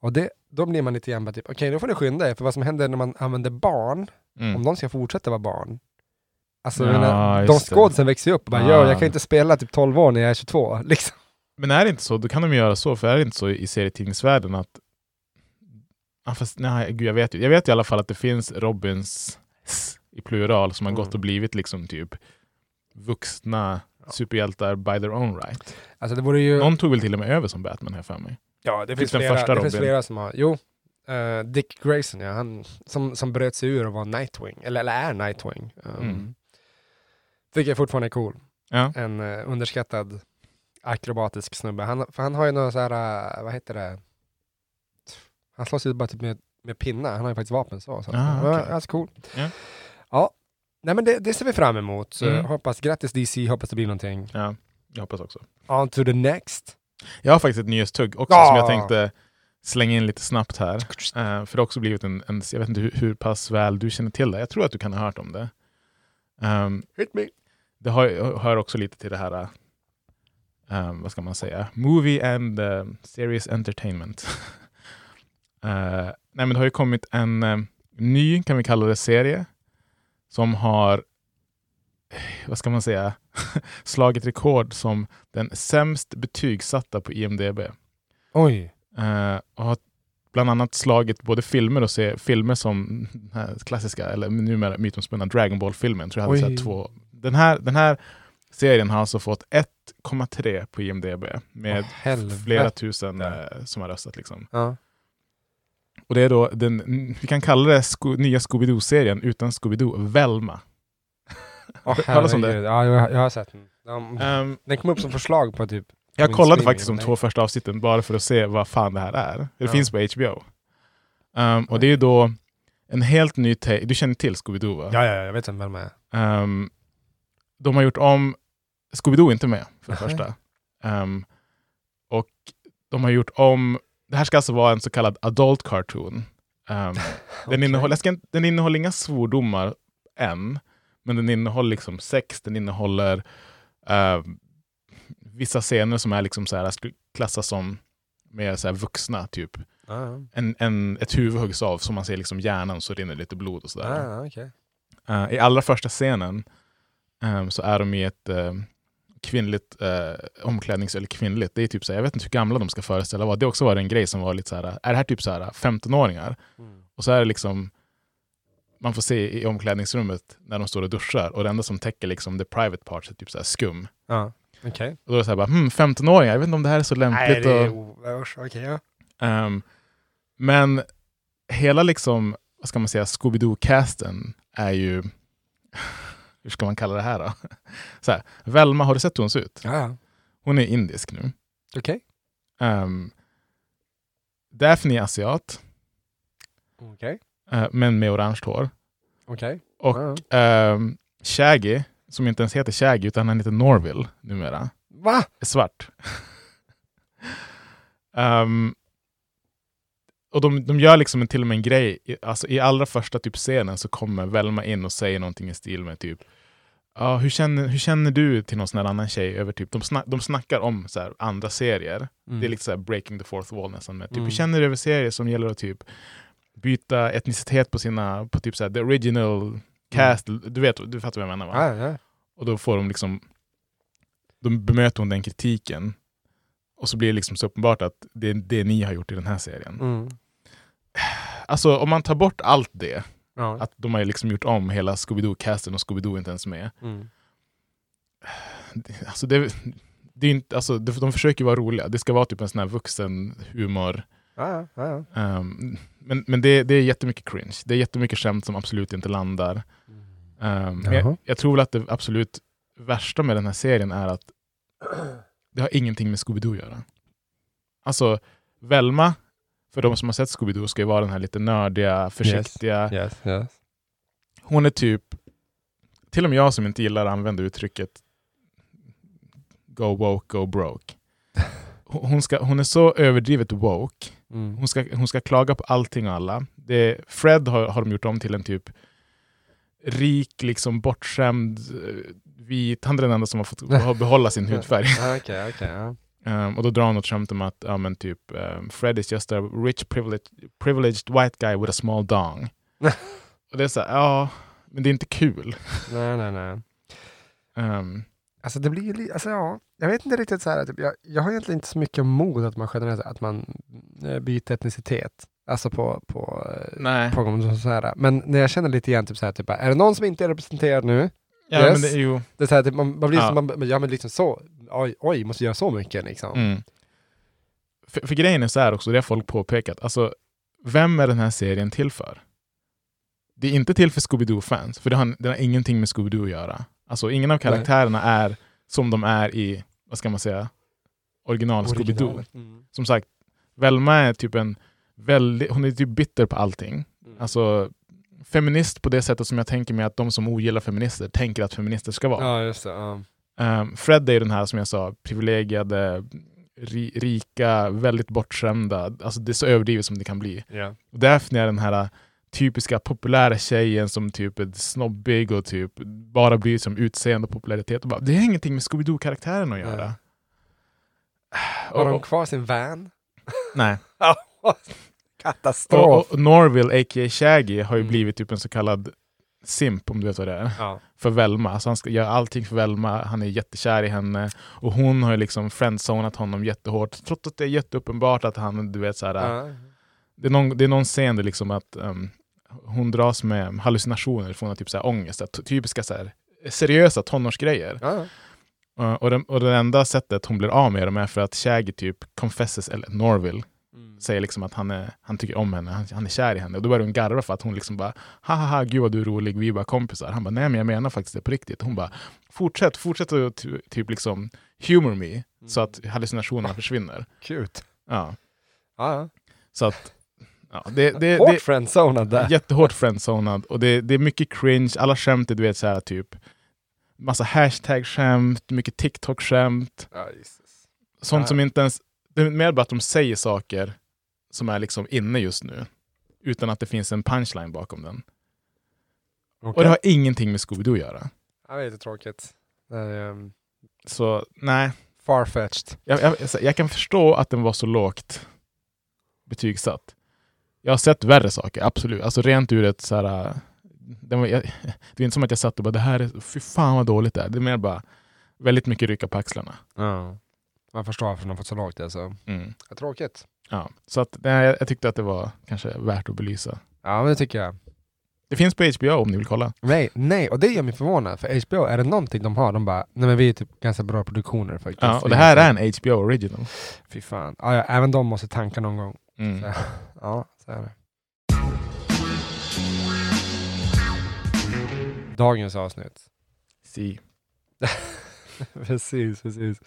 Speaker 9: Och det, då blir man lite grann bara typ, okej då får ni skynda er, för vad som händer när man använder barn
Speaker 10: Mm.
Speaker 9: om de ska fortsätta vara barn. Alltså,
Speaker 10: Ja,
Speaker 9: jag menar, de
Speaker 10: just det. Ah.
Speaker 9: skådisen växer ju upp och bara,
Speaker 10: Ja.
Speaker 9: ja, jag kan inte spela typ 12 år när jag är 22. Liksom.
Speaker 10: Men är det inte så, då kan de göra så. För är det inte så i serietidningsvärlden att Ja, fast, nej, gud, jag, vet ju. jag vet i alla fall att det finns Robins i plural som har gått och blivit liksom typ vuxna superhjältar by their own right.
Speaker 9: Alltså det vore ju...
Speaker 10: Någon tog väl till och med över som Batman här för mig.
Speaker 9: Ja, det
Speaker 10: finns
Speaker 9: finns,
Speaker 10: den första
Speaker 9: flera, det finns
Speaker 10: Robin.
Speaker 9: flera som har... Jo, eh, Dick Grayson, ja, han som, som bröt sig ur och var Nightwing, eller, eller är Nightwing. Um,
Speaker 10: Mm.
Speaker 9: Tycker jag fortfarande är cool.
Speaker 10: Ja.
Speaker 9: En eh, underskattad akrobatisk snubbe. Han, för han har ju några så här, eh, vad heter det? Han slåss ju bara typ med, med pinnar, han har ju faktiskt vapen så. så.
Speaker 10: Ah,
Speaker 9: Ja,
Speaker 10: okej.
Speaker 9: Alltså cool.
Speaker 10: Ja.
Speaker 9: Ja. Nej men det, det ser vi fram emot. Så
Speaker 10: Mm.
Speaker 9: Hoppas, grattis DC, hoppas det blir någonting.
Speaker 10: Ja, jag hoppas också.
Speaker 9: On to the next.
Speaker 10: Jag har faktiskt ett nyhetstugg också
Speaker 9: Ja.
Speaker 10: som jag tänkte slänga in lite snabbt här. Eh, för det har också blivit en, en jag vet inte hur, hur pass väl du känner till det. Jag tror att du kan ha hört om det. Ehm,
Speaker 9: Hit me.
Speaker 10: det hör, hör också lite till det här, eh, vad ska man säga, Movie and eh, Series Entertainment. Eh, nej men det har ju kommit en eh, ny, kan vi kalla det, serie som har, eh, vad ska man säga, slagit rekord som den sämst betygsatta på IMDB.
Speaker 9: Oj.
Speaker 10: Eh, och har bland annat slagit både filmer och se, filmer som den här klassiska, eller numera mytomspunna Dragon Ball-filmen. Tror jag hade
Speaker 9: Oj.
Speaker 10: så här två. Den, här, den här serien har alltså fått 1,3 på IMDB med
Speaker 9: Åh, helvete.
Speaker 10: flera tusen eh, som har röstat. Liksom.
Speaker 9: Ja.
Speaker 10: Och det är då den, vi kan kalla det sko, nya Scooby-Doo-serien utan Scooby-Doo, Velma.
Speaker 9: Oh,
Speaker 10: talas om det?
Speaker 9: Ja, jag, jag har sett den. De,
Speaker 10: Ehm,
Speaker 9: den kom upp som förslag på typ...
Speaker 10: Jag
Speaker 9: Min
Speaker 10: kollade
Speaker 9: streaming,
Speaker 10: faktiskt de
Speaker 9: nej.
Speaker 10: två första avsnitten bara för att se vad fan det här är. Det
Speaker 9: Ja.
Speaker 10: finns på HBO. Ehm, och det är då en helt ny take. Du känner till Scooby-Doo va?
Speaker 9: Ja, ja, jag vet vem de är.
Speaker 10: Ehm, de har gjort om... Scooby-Doo är inte med, för det
Speaker 9: Nej.
Speaker 10: första. Ehm, och de har gjort om... Det här ska alltså vara en så kallad adult cartoon. Ehm, den,
Speaker 9: Okej.
Speaker 10: innehåller, jag ska, inte- den innehåller inga svordomar än, men den innehåller liksom sex, den innehåller eh, vissa scener som är liksom så här, skulle klassas som mer så här vuxna, typ.
Speaker 9: Ja,
Speaker 10: En, en, ett huvud huggs av, så man ser liksom hjärnan, så rinner lite blod och sådär.
Speaker 9: ja. Ah, okej.
Speaker 10: Eh, I allra första scenen ehm, så är de i ett eh, kvinnligt eh, omklädnings... Eller kvinnligt, det är typ så här, jag vet inte hur gamla de ska föreställa vara. Det har också var en grej som var lite så här, är det här typ så här 15-åringar?
Speaker 9: Mm.
Speaker 10: Och så är det liksom, man får se i omklädningsrummet när de står och duschar och det enda som täcker liksom the private parts är typ så här skum.
Speaker 9: Ja, okej.
Speaker 10: Och då är det så här bara, hmm, 15-åringar, jag vet inte om det här är så lämpligt.
Speaker 9: Nej, det
Speaker 10: och...
Speaker 9: är... o- usch, Okej, ja.
Speaker 10: Ehm, men hela liksom, vad ska man säga, Scooby-Doo-casten är ju, hur ska man kalla det här då? Så här, Velma, har du sett hur hon ser ut?
Speaker 9: Ja, ja.
Speaker 10: Hon är indisk nu.
Speaker 9: Okej.
Speaker 10: Um, Daphne är asiat,
Speaker 9: Okej.
Speaker 10: eh, men med orange hår.
Speaker 9: Okej.
Speaker 10: Och
Speaker 9: Ja, ja.
Speaker 10: ehm, Shaggy, som inte ens heter Shaggy utan han heter Norville numera,
Speaker 9: Va?
Speaker 10: är svart. Ehm, och de, de gör liksom en, till och med en grej, i, alltså, i allra första typ scenen så kommer Velma in och säger någonting i stil med typ Ja, hur, känner, hur känner du till någon sån här annan tjej? Över typ, de, snack, de snackar om så här, andra serier. Det är liksom- lite så här breaking the fourth wall nästan. Med, typ,
Speaker 9: Mm.
Speaker 10: Hur känner du över serier som gäller att typ byta etnicitet på sina, på typ så här, the original cast? Du vet, du fattar vad jag menar va?
Speaker 9: Ja, ja.
Speaker 10: Och då får de liksom, då bemöter hon den kritiken. Och så blir det liksom så uppenbart att det är det ni har gjort i den här serien.
Speaker 9: Mm.
Speaker 10: Alltså om man tar bort allt det,
Speaker 9: Ja.
Speaker 10: att de har ju liksom gjort om hela Scooby-Doo-casten och Scooby-Doo är inte ens med.
Speaker 9: Mm.
Speaker 10: Det- Alltså det, det är inte, alltså det, de försöker vara roliga. Det ska vara typ en sån här vuxen humor.
Speaker 9: Ja, ja, ja, ja.
Speaker 10: Ehm, men men det, det är jättemycket cringe. Det är jättemycket skämt som absolut inte landar. Ehm, men
Speaker 9: Jaha.
Speaker 10: jag, jag tror väl att det absolut värsta med den här serien är att det har ingenting med Scooby-Doo att göra. Alltså, Velma, för de som har sett Scooby-Doo, ska ju vara den här lite nördiga, försiktiga.
Speaker 9: Yes, yes.
Speaker 10: Hon är typ, till och med jag som inte gillar att använda uttrycket go woke, go broke. Hon hon ska, hon är så överdrivet woke.
Speaker 9: Mm.
Speaker 10: Hon ska, hon ska klaga på allting och alla. Det, Fred har, har de gjort om till en typ rik, liksom bortskämd, eh, vit. Han är den enda som har fått har behålla sin hudfärg.
Speaker 9: Ja, Okej, okej. ja.
Speaker 10: Ehm, och då drar han något skämt om att ja, men typ, ehm, Fred is just a rich privileged, privileged white guy with a small dong. och det är så här, ja, men det är inte kul.
Speaker 9: Nej, nej, nej.
Speaker 10: Ehm,
Speaker 9: Alltså det blir ju, li- alltså ja, jag vet inte riktigt så här, typ, jag, jag har egentligen inte så mycket mod att man generellt, att man eh, byter etnicitet. Alltså på, på, eh,
Speaker 10: Nej.
Speaker 9: på så här. Men när jag känner lite igen, typ så här, typ, bara, är det någon som inte är representerad nu?
Speaker 10: Ja,
Speaker 9: Yes.
Speaker 10: men det är ju...
Speaker 9: Det är så här, typ, man, man blir
Speaker 10: Ja.
Speaker 9: som, man, ja men liksom så, oj, oj, måste göra så mycket liksom.
Speaker 10: Mm. För, för grejen är så här också, det har folk påpekat. Alltså, vem är den här serien till för? Det är inte till för Scooby-Doo-fans, för det har, den har ingenting med Scooby-Doo att göra. Alltså, ingen av karaktärerna är som de är i, vad ska man säga, original Scooby-Doo.
Speaker 9: Originalet. Mm.
Speaker 10: Som sagt, Velma är typ en väldigt, hon är typ bitter på allting. Alltså, feminist på det sättet som jag tänker mig att de som ogillar feminister tänker att feminister ska vara.
Speaker 9: Ja, just det. Ja.
Speaker 10: Ehm, Fred är ju den här som jag sa, privilegierade, ri, rika, väldigt bortskämda. Alltså det är så överdrivet som det kan bli.
Speaker 9: Ja.
Speaker 10: Och därför är den här äh, typiska populära tjejen som typ är snobbig och typ bara blir som utseende och popularitet. Och bara, det har ingenting med Scooby-Doo-karaktären att göra.
Speaker 9: Har
Speaker 10: Och,
Speaker 9: de
Speaker 10: och,
Speaker 9: kvar sin van?
Speaker 10: nej.
Speaker 9: Katastrof!
Speaker 10: Och, och Norville, a.k.a. Shaggy, har ju
Speaker 9: Mm.
Speaker 10: blivit typ en så kallad simp, om du vet vad det är,
Speaker 9: Ja.
Speaker 10: för Velma. Alltså han ska göra allting för Velma, han är jättekär i henne och hon har ju liksom friendzonat honom jättehårt, trots att det är jätteuppenbart att han, du vet så här,
Speaker 9: Ja.
Speaker 10: det, är någon, det är någon scen där liksom att ehm, hon dras med hallucinationer, får hon typ så här ångest, att- typiska så här, seriösa tonårsgrejer.
Speaker 9: Ja.
Speaker 10: Eh, och, den, och det enda sättet hon blir av med dem är för att Shaggy typ confesses, eller Norville, säger liksom att han, är, han tycker om henne, han, han är kär i henne. Och då börjar hon garva för att hon liksom bara, haha, gud vad du är rolig, vi är bara kompisar. Han bara, nej men jag menar faktiskt det på riktigt. Hon bara, fortsätt, fortsätt att ty- typ liksom humor me, så att hallucinationerna försvinner.
Speaker 9: Mm. Cute.
Speaker 10: Ja,
Speaker 9: Ja.
Speaker 10: så att, ja, det, det, det,
Speaker 9: Hårt friendzonad där.
Speaker 10: Jättehårt friendzonad och det, det är mycket cringe, alla skämt är du vet så här typ massa hashtag-skämt, mycket TikTok-skämt,
Speaker 9: Ja, Jesus.
Speaker 10: sånt
Speaker 9: Ja.
Speaker 10: som inte ens... Det är mer bara att de säger saker som är liksom inne just nu utan att det finns en punchline bakom den. Och
Speaker 9: Okej.
Speaker 10: det har ingenting med Scooby-Doo att göra.
Speaker 9: Ja, det är lite tråkigt. Det är, um,
Speaker 10: Så nej,
Speaker 9: farfetched.
Speaker 10: jag, jag, jag kan förstå att den var så lågt betygsatt. Jag har sett värre saker, absolut. Alltså rent ur ett så här... äh, Den var, jag, det är inte som att jag satt och bara det här är, fy fan vad dåligt det är. Det är mer bara väldigt mycket rycka på axlarna.
Speaker 9: Ja. Man förstår varför de har fått så alltså. lågt det. Så.
Speaker 10: Mm.
Speaker 9: Ja, tråkigt.
Speaker 10: Ja. Så att, nej, jag, jag tyckte att det var kanske värt att belysa.
Speaker 9: Ja, men det tycker jag.
Speaker 10: Det finns på HBO om ni vill kolla.
Speaker 9: Nej, nej, och det gör mig förvånad. För HBO, är det någonting de har, de bara, nej men vi är typ ganska bra produktioner faktiskt.
Speaker 10: Ja, och det här är en HBO original.
Speaker 9: Fy fan. Ja, ja, även de måste tanka någon gång.
Speaker 10: Mm.
Speaker 9: Så, ja, så är det. Dagens avsnitt.
Speaker 10: Si.
Speaker 9: precis, precis.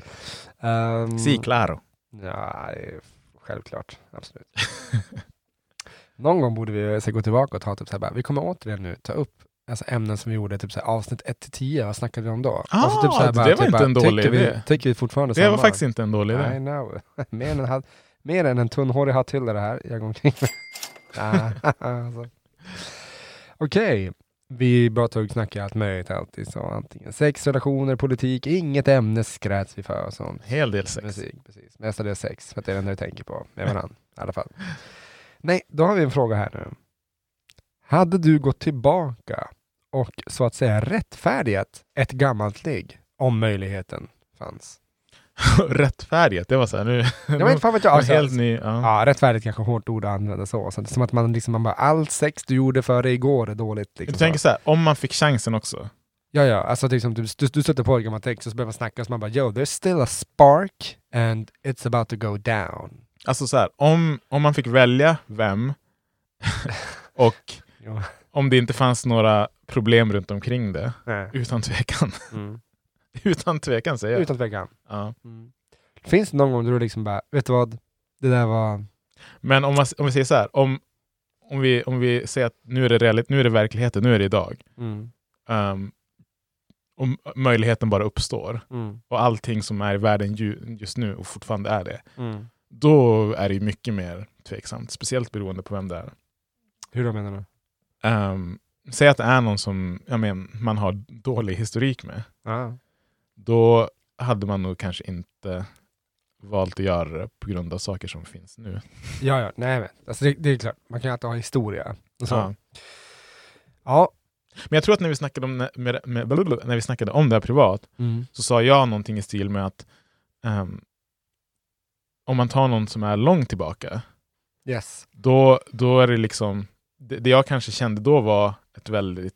Speaker 9: Um,
Speaker 10: Si, claro.
Speaker 9: Ja, det är självklart. Absolut. Någon gång borde vi så, gå tillbaka och ta typ så här, bara, vi kommer återigen nu ta upp alltså, ämnen som vi gjorde, typ så här, avsnitt 1 till 10, vad snackade vi om då?
Speaker 10: Ah,
Speaker 9: Och så typ så här,
Speaker 10: det var inte en dålig
Speaker 9: tycker
Speaker 10: idé.
Speaker 9: Vi, tycker vi fortfarande
Speaker 10: Det var faktiskt inte en dålig
Speaker 9: I
Speaker 10: idé.
Speaker 9: know. mer, än en, hatt- mer än en tunnhårig hatt till är det här jag går omkring med. Ah, alltså. Okej, vi bara tog och snackade allt möjligt alltid. Så antingen sex, relationer, politik, inget ämne skräts vi för och sånt.
Speaker 10: Hel del sex.
Speaker 9: Musik, precis. Mestadels sex, för att det är det enda vi tänker på med varandra i alla fall. Nej, då har vi en fråga här nu. Hade du gått tillbaka och så att säga rättfärdigat ett gammalt ligg om möjligheten fanns?
Speaker 10: Rättfärdigt, det var så här nu.
Speaker 9: Jag vet fan vet jag.
Speaker 10: var
Speaker 9: Alltså,
Speaker 10: helt ny. Ja.
Speaker 9: ja, rättfärdigt kanske är hårt ord att använda så. så det är som att man, liksom, man bara, allt sex du gjorde före igår är dåligt. Liksom,
Speaker 10: Du tänker
Speaker 9: så.
Speaker 10: så här, om man fick chansen också.
Speaker 9: Ja, ja. Alltså, det är liksom, du, du, du sätter på ett gammalt text och så börjar man snacka och så man bara, yo, there's still a spark and it's about to go down.
Speaker 10: Alltså så här, om, om man fick välja vem och
Speaker 9: Ja.
Speaker 10: om det inte fanns några problem runt omkring det,
Speaker 9: Nej.
Speaker 10: utan tvekan. utan tvekan säger jag.
Speaker 9: Utan tvekan.
Speaker 10: Ja.
Speaker 9: Finns det någon gång då du liksom bara, vet du vad, det där var...
Speaker 10: Men om, man, om vi säger så här, om, om, vi, om vi säger att nu är, det reali- nu är det verkligheten, nu är det idag. Um, och m- möjligheten bara uppstår och allting som är i världen ju, just nu och fortfarande är det. Då är det ju mycket mer tveksamt, speciellt beroende på vem det är.
Speaker 9: Hur då menar du?
Speaker 10: Ehm, säg att det är någon som jag men, man har dålig historik med.
Speaker 9: Ja.
Speaker 10: Då hade man nog kanske inte valt att göra det på grund av saker som finns nu.
Speaker 9: ja, ja, nej men. Alltså det, det är klart, man kan ju alltid ha historia. Och så.
Speaker 10: Ja.
Speaker 9: Ja.
Speaker 10: Men jag tror att när vi, snackade om, med, med, blablabla, när vi snackade om det här privat så sa jag någonting i stil med att ehm, om man tar någon som är långt tillbaka
Speaker 9: Yes.
Speaker 10: då, då är det liksom, det, det jag kanske kände då var ett väldigt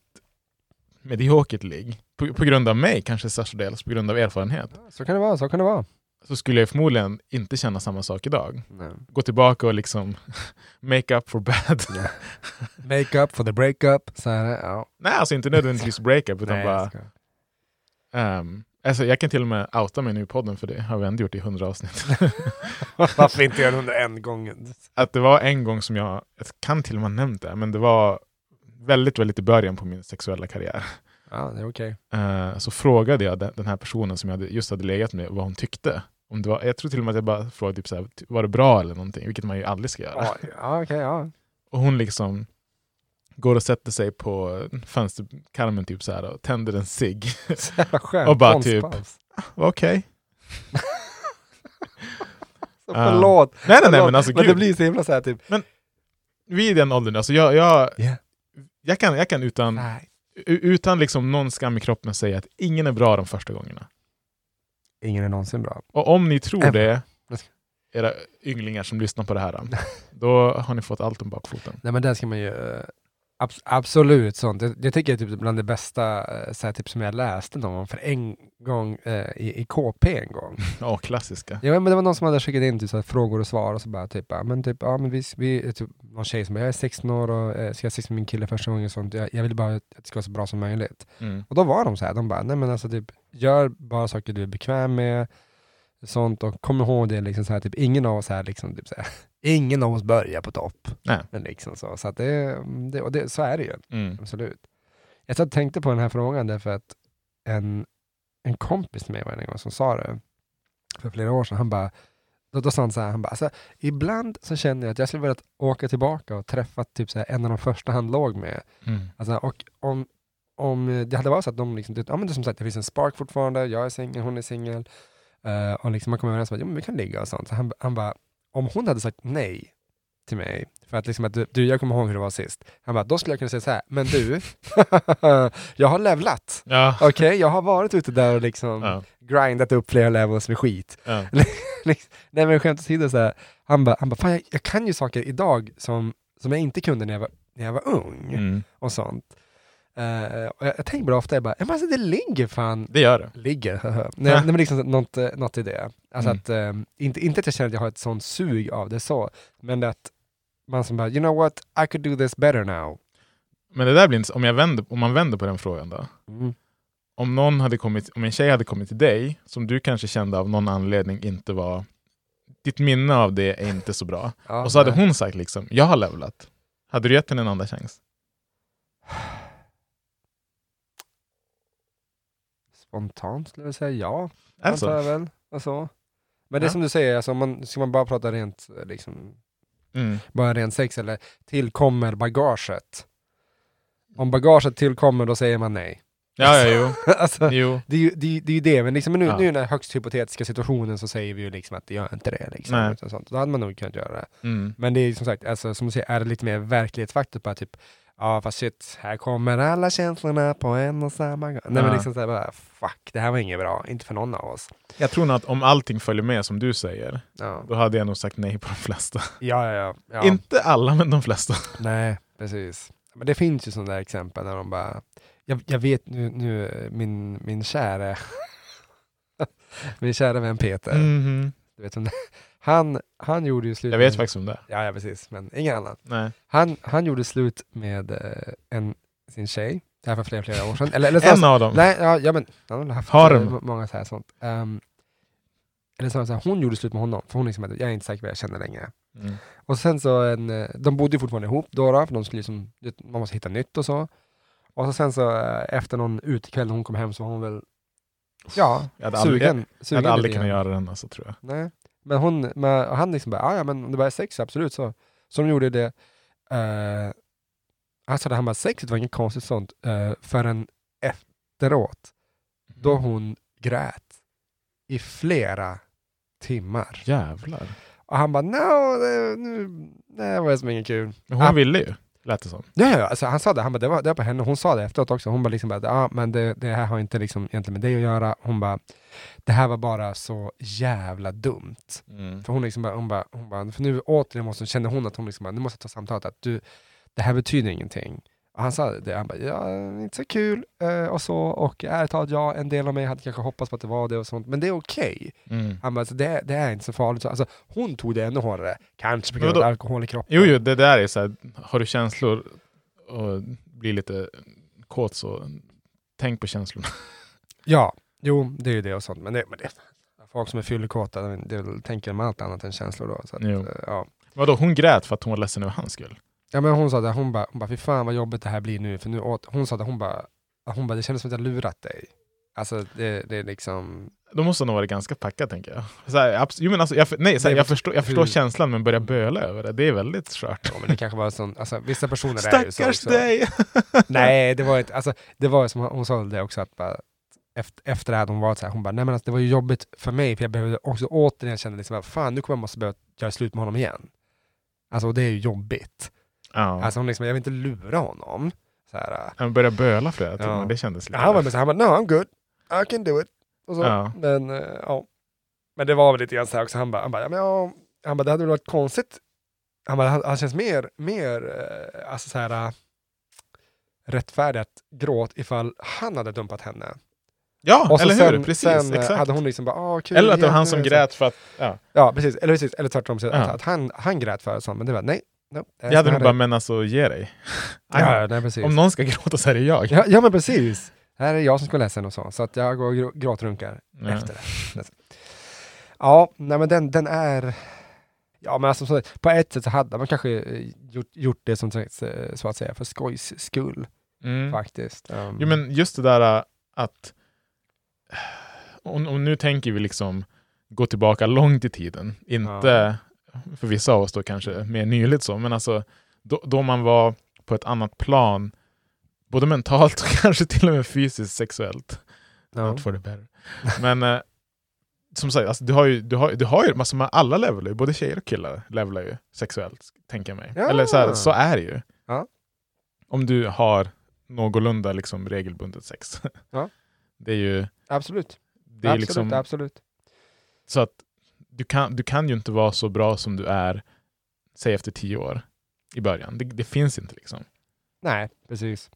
Speaker 10: mediokert ligg. På, på grund av mig, kanske störstadels, på grund av erfarenhet.
Speaker 9: Så kan det vara, så kan det vara.
Speaker 10: Så skulle jag förmodligen inte känna samma sak idag. Gå tillbaka och liksom make up for bad.
Speaker 9: Make up for the breakup. Så här, ja.
Speaker 10: Nej, alltså inte nödvändigtvis breakup, utan
Speaker 9: Nej,
Speaker 10: bara...
Speaker 9: jag ska-
Speaker 10: ehm, alltså jag kan till och med outa mig nu i podden för det har vi ändå gjort i hundra avsnitt.
Speaker 9: Varför inte göra det under en gång?
Speaker 10: att det var en gång som jag, jag kan till och med ha nämnt det, men det var väldigt, väldigt i början på min sexuella karriär.
Speaker 9: Ja, det är okej.
Speaker 10: Eh, så frågade jag de- den här personen som jag hade- just hade legat med vad hon tyckte. Om det var, jag tror till och med att jag bara frågade typ så här, var det bra eller någonting, vilket man ju aldrig ska göra.
Speaker 9: Ja, ja, okej, ja.
Speaker 10: Och hon liksom går och sätter sig på fönsterkarmen typ så här och tänder en cigg.
Speaker 9: Så jävla skönt.
Speaker 10: Och bara typ-
Speaker 9: Konstpaus.
Speaker 10: Okej.
Speaker 9: Så Förlåt.
Speaker 10: Nej, nej, nej,
Speaker 9: förlåt.
Speaker 10: men alltså
Speaker 9: det
Speaker 10: gud.
Speaker 9: blir så himla så här typ.
Speaker 10: Vi är i den åldern, alltså jag, jag,
Speaker 9: Yeah.
Speaker 10: jag, kan, jag kan utan,
Speaker 9: Nej.
Speaker 10: u- utan liksom någon skam i kroppen säga att ingen är bra de första gångerna.
Speaker 9: Ingen är någonsin bra.
Speaker 10: Och om ni tror det,
Speaker 9: Jag ska-
Speaker 10: era ynglingar som lyssnar på det här, då har ni fått allt om bakfoten.
Speaker 9: Nej men där ska man ju eh, abs- absolut sånt. Det, det tycker jag är typ bland det bästa eh, så här, typ som jag läste någon gång för en gång eh, i, i KP en gång.
Speaker 10: Ja, klassiska.
Speaker 9: Ja, men det var någon som hade skickat in typ, så här, frågor och svar och så bara typ, ja men typ, ja men vi, vi typ, någon tjej som bara, jag är 16 år och eh, ska ha sex med min kille första gången och sånt. Jag, jag vill bara att det ska vara så bra som möjligt.
Speaker 10: Mm.
Speaker 9: Och då var de så här, de bara, nej men alltså typ, gör bara saker du är bekväm med, sånt och kom ihåg det liksom så här, typ ingen av oss här liksom, typ så här, ingen av oss börjar på topp.
Speaker 10: Nej.
Speaker 9: Men liksom så, så att det, det, och det, så är det ju,
Speaker 10: Mm.
Speaker 9: absolut. Jag satt och tänkte på den här frågan därför att en, en kompis till mig var det en gång som sa det för flera år sedan, han bara, då, då sa han så här, han bara, alltså, ibland så känner jag att jag skulle vilja åka tillbaka och träffa typ så här, en av de första han låg med
Speaker 10: Mm.
Speaker 9: Alltså, och om, om det hade varit så att de, liksom, ja men det är som sagt, det finns en spark fortfarande, jag är singel, hon är singel, eh, och liksom man kommer överens om att jo, men vi kan ligga och sånt. Så han, han bara, om hon hade sagt nej till mig, för att, liksom att du- du, jag kommer ihåg hur det var sist, han bara, då skulle jag kunna säga så här, men du, jag har levlat.
Speaker 10: Ja.
Speaker 9: Okej, jag har varit ute där och liksom
Speaker 10: Ja.
Speaker 9: grindat upp flera levels med skit.
Speaker 10: Ja.
Speaker 9: Liksom, Nej men skämt åsido, så här, han bara, han bara, fan jag, jag kan ju saker idag som, som jag inte kunde när jag var, när jag var ung
Speaker 10: Mm.
Speaker 9: och sånt. Eh, och jag, jag tänker bara ofta, jag bara, "Ja, men alltså, det ligger fan,
Speaker 10: Det gör det.
Speaker 9: ligger, nej, nej men liksom något, eh, något i det. Alltså
Speaker 10: Mm.
Speaker 9: att, eh, inte, inte att jag känner att jag har ett sånt sug av det så, men att man som bara, you know what, I could do this better now.
Speaker 10: Men det där blir inte, om, jag vänder, om man vänder på den frågan då.
Speaker 9: Mm.
Speaker 10: Om, någon hade kommit, om en tjej hade kommit till dig, som du kanske kände av någon anledning inte var... Ditt minne av det är inte så bra.
Speaker 9: Ja,
Speaker 10: Och så hade
Speaker 9: nej.
Speaker 10: hon sagt liksom, jag har levlat. Hade du gett henne en andra chans?
Speaker 9: Spontant skulle jag säga ja, antar
Speaker 10: Alltså.
Speaker 9: jag väl. Och så. Men det
Speaker 10: Ja.
Speaker 9: är som du säger, alltså, om man, ska man bara prata rent, eh, liksom,
Speaker 10: Mm.
Speaker 9: bara ren sex eller tillkommer bagaget? Om bagaget tillkommer, då säger man nej.
Speaker 10: Ja, ja, jo.
Speaker 9: alltså,
Speaker 10: jo.
Speaker 9: Det är ju det, är, ju- det, är ju det. men liksom, men nu,
Speaker 10: Ja.
Speaker 9: nu i den här högst hypotetiska situationen så säger vi ju liksom att det gör inte det. Liksom,
Speaker 10: Nej.
Speaker 9: utan sånt. Då hade man nog kunnat göra det.
Speaker 10: Mm.
Speaker 9: Men det är ju som sagt, alltså, som du säger, är det lite mer verklighetsfaktor på att typ, ja fast shit, här kommer alla känslorna på en och samma gång. Nej
Speaker 10: Ja.
Speaker 9: men liksom såhär bara, fuck, det här var inget bra, inte för någon av oss.
Speaker 10: Jag tror nog att om allting följer med som du säger,
Speaker 9: Ja,
Speaker 10: då hade jag nog sagt nej på de flesta.
Speaker 9: ja, ja. ja, ja.
Speaker 10: Inte alla, men de flesta.
Speaker 9: Nej, precis. Men det finns ju sådana där exempel där de bara, jag, jag vet nu, nu eh, min, min kära, min kära vän Peter,
Speaker 10: Mhm.
Speaker 9: du vet, vem det- han, han gjorde ju slut
Speaker 10: Jag vet
Speaker 9: med-
Speaker 10: faktiskt om det. är.
Speaker 9: Ja, ja, precis. Men ingen annan.
Speaker 10: Nej.
Speaker 9: Han, han gjorde slut med eh, en, sin tjej. Det här var flera, flera år sedan. Eller, eller
Speaker 10: En av dem.
Speaker 9: Nej, ja, ja, men han har väl haft
Speaker 10: Har de?
Speaker 9: eh, må- många så här sånt. Ehm, eller så, var det så här, hon gjorde slut med honom, för hon liksom, hade- jag är inte säker på vad jag känner längre.
Speaker 10: Mm.
Speaker 9: Och sen så, en, eh, de bodde ju fortfarande ihop då, då för de skulle liksom, du vet, man måste hitta nytt och så. Och så sen så eh, efter någon utekväll när hon kom hem så var hon väl, ja,
Speaker 10: Jag hade aldrig,
Speaker 9: sugen.
Speaker 10: jag
Speaker 9: sugen
Speaker 10: hade aldrig
Speaker 9: lite
Speaker 10: kunnat
Speaker 9: grann.
Speaker 10: göra den alltså, tror jag.
Speaker 9: Nej. Men hon, men, och han liksom bara, "Ah, ja men om det bara är sex, absolut så. Så de gjorde det. Uh, alltså det här med sexet var inget konstigt sånt eh, förrän efteråt,
Speaker 10: Mm.
Speaker 9: då hon grät i flera timmar.
Speaker 10: Jävlar.
Speaker 9: Och han bara, no, det, nu, det var som inget kul.
Speaker 10: Men hon
Speaker 9: Ah.
Speaker 10: ville ju. Lät det som.
Speaker 9: Ja, ja, ja. Alltså, han sa det, han bara, det var, det var på henne. Hon sa det efteråt också. Hon bara, liksom, bara ah, men det, det här har inte liksom egentligen med dig att göra. Hon bara, det här var bara så jävla dumt. För hon liksom bara, hon bara, hon bara för nu återigen måste, känner hon att hon liksom bara, nu måste jag ta samtalet, att du, det här betyder ingenting. Och han sa det, han bara, ja, inte så kul eh, och så, och ärligt talat, ja, en del av mig hade kanske hoppats på att det var det och sånt, men det är okej.
Speaker 10: Mm.
Speaker 9: Han bara, alltså, det, det är inte så farligt. Så, Alltså, hon tog det ännu hårdare, kanske på
Speaker 10: Men
Speaker 9: grund av
Speaker 10: vadå?
Speaker 9: alkohol i kroppen.
Speaker 10: Jo, jo, det där är så här, har du känslor och blir lite kåt så tänk på känslorna.
Speaker 9: Ja, jo, det är ju det och sånt, men det, men det folk som är fyllekåta, de- de tänker om allt annat än känslor då. Så att,
Speaker 10: Jo.
Speaker 9: eh, ja.
Speaker 10: Vadå, hon grät för att hon var ledsen över hans skull?
Speaker 9: Ja men hon sa det, hon bara, hon bara fy fan vad jobbigt det här blir nu. För nu åt, hon sa det, hon bara, hon bara, det kändes som att jag lurat dig. Alltså det, det är liksom,
Speaker 10: Då måste hon ha varit ganska packad, tänker jag. Så här, abs- jo, men alltså, jag, för- nej, så här,
Speaker 9: Nej,
Speaker 10: jag
Speaker 9: men
Speaker 10: förstår, jag förstår
Speaker 9: hur-
Speaker 10: känslan, men börja böla över det, det är väldigt skört.
Speaker 9: ja, men det kanske var sån, alltså vissa personer är ju så.
Speaker 10: Stackars
Speaker 9: också.
Speaker 10: dig!
Speaker 9: Nej, det var ett, alltså det var som hon- hon sa det också att bara, efter, efter det här hon var så här, hon bara, nej men alltså, det var ju jobbigt för mig för jag behövde också återigen känna liksom, att fan nu kommer jag måste behöva göra slut med honom igen. Alltså och det är ju jobbigt.
Speaker 10: Ja.
Speaker 9: Alltså hon liksom, jag vill inte lura honom. Så här, äh,
Speaker 10: Han började böla flera timmar,
Speaker 9: Ja.
Speaker 10: det kändes
Speaker 9: Ja,
Speaker 10: lite...
Speaker 9: han var med så här, han bara, no I'm good, I can do it. Och så.
Speaker 10: Ja.
Speaker 9: Men, eh, ja. men det var väl lite grann så här också, han bara, han bara, ja, men, ja. han bara det hade väl varit konstigt. Han bara, han, han känns mer, mer eh, alltså så här, eh, rättfärdig att gråt ifall han hade dumpat henne.
Speaker 10: ja
Speaker 9: Och så
Speaker 10: eller hur?
Speaker 9: sen,
Speaker 10: Precis,
Speaker 9: sen eh,
Speaker 10: exakt.
Speaker 9: hade hon liksom bara, ah, kul.
Speaker 10: Eller att det var
Speaker 9: igen,
Speaker 10: han
Speaker 9: nu",
Speaker 10: som
Speaker 9: så.
Speaker 10: grät för att... Ja.
Speaker 9: Ja, precis. Eller, precis. eller tvärtom, så
Speaker 10: Ja.
Speaker 9: att, att han, han grät för det, så, men det var nej. No, det är
Speaker 10: Jag hade
Speaker 9: så
Speaker 10: nog
Speaker 9: här
Speaker 10: bara,
Speaker 9: det.
Speaker 10: men alltså ge dig.
Speaker 9: ja, ja, nej, precis.
Speaker 10: Om någon ska gråta så är det jag.
Speaker 9: Ja, ja men precis. Här är jag som ska vara ledsen och så. Så att jag går och gr- gråtrunkar
Speaker 10: Ja.
Speaker 9: efter det. Ja, nej men den, den är... Ja men alltså, så- på ett sätt så hade man kanske eh, gjort, gjort det som sagt, eh, så att säga för skojs skull
Speaker 10: Mm.
Speaker 9: faktiskt. Um,
Speaker 10: Jo, men just det där äh, att... Och, och nu tänker vi liksom gå tillbaka långt i tiden. Inte, för vissa av oss då kanske mer nyligt så, men alltså då, då man var på ett annat plan, både mentalt och kanske till och med fysiskt sexuellt.
Speaker 9: ja.
Speaker 10: Not for the better. Men eh, som sagt, alltså, du har ju, du har, du har ju alltså, man- alla levelar ju, både tjejer och killar levelar ju sexuellt, tänker jag mig.
Speaker 9: Ja.
Speaker 10: Eller så, här, så är det ju.
Speaker 9: Ja.
Speaker 10: Om du har någorlunda liksom, regelbundet sex.
Speaker 9: Ja.
Speaker 10: Det är ju,
Speaker 9: Absolut,
Speaker 10: det är ju
Speaker 9: absolut,
Speaker 10: liksom,
Speaker 9: absolut.
Speaker 10: så att du kan, du kan ju inte vara så bra som du är, säg efter tio år i början. Det, det finns inte liksom.
Speaker 9: Nej, precis.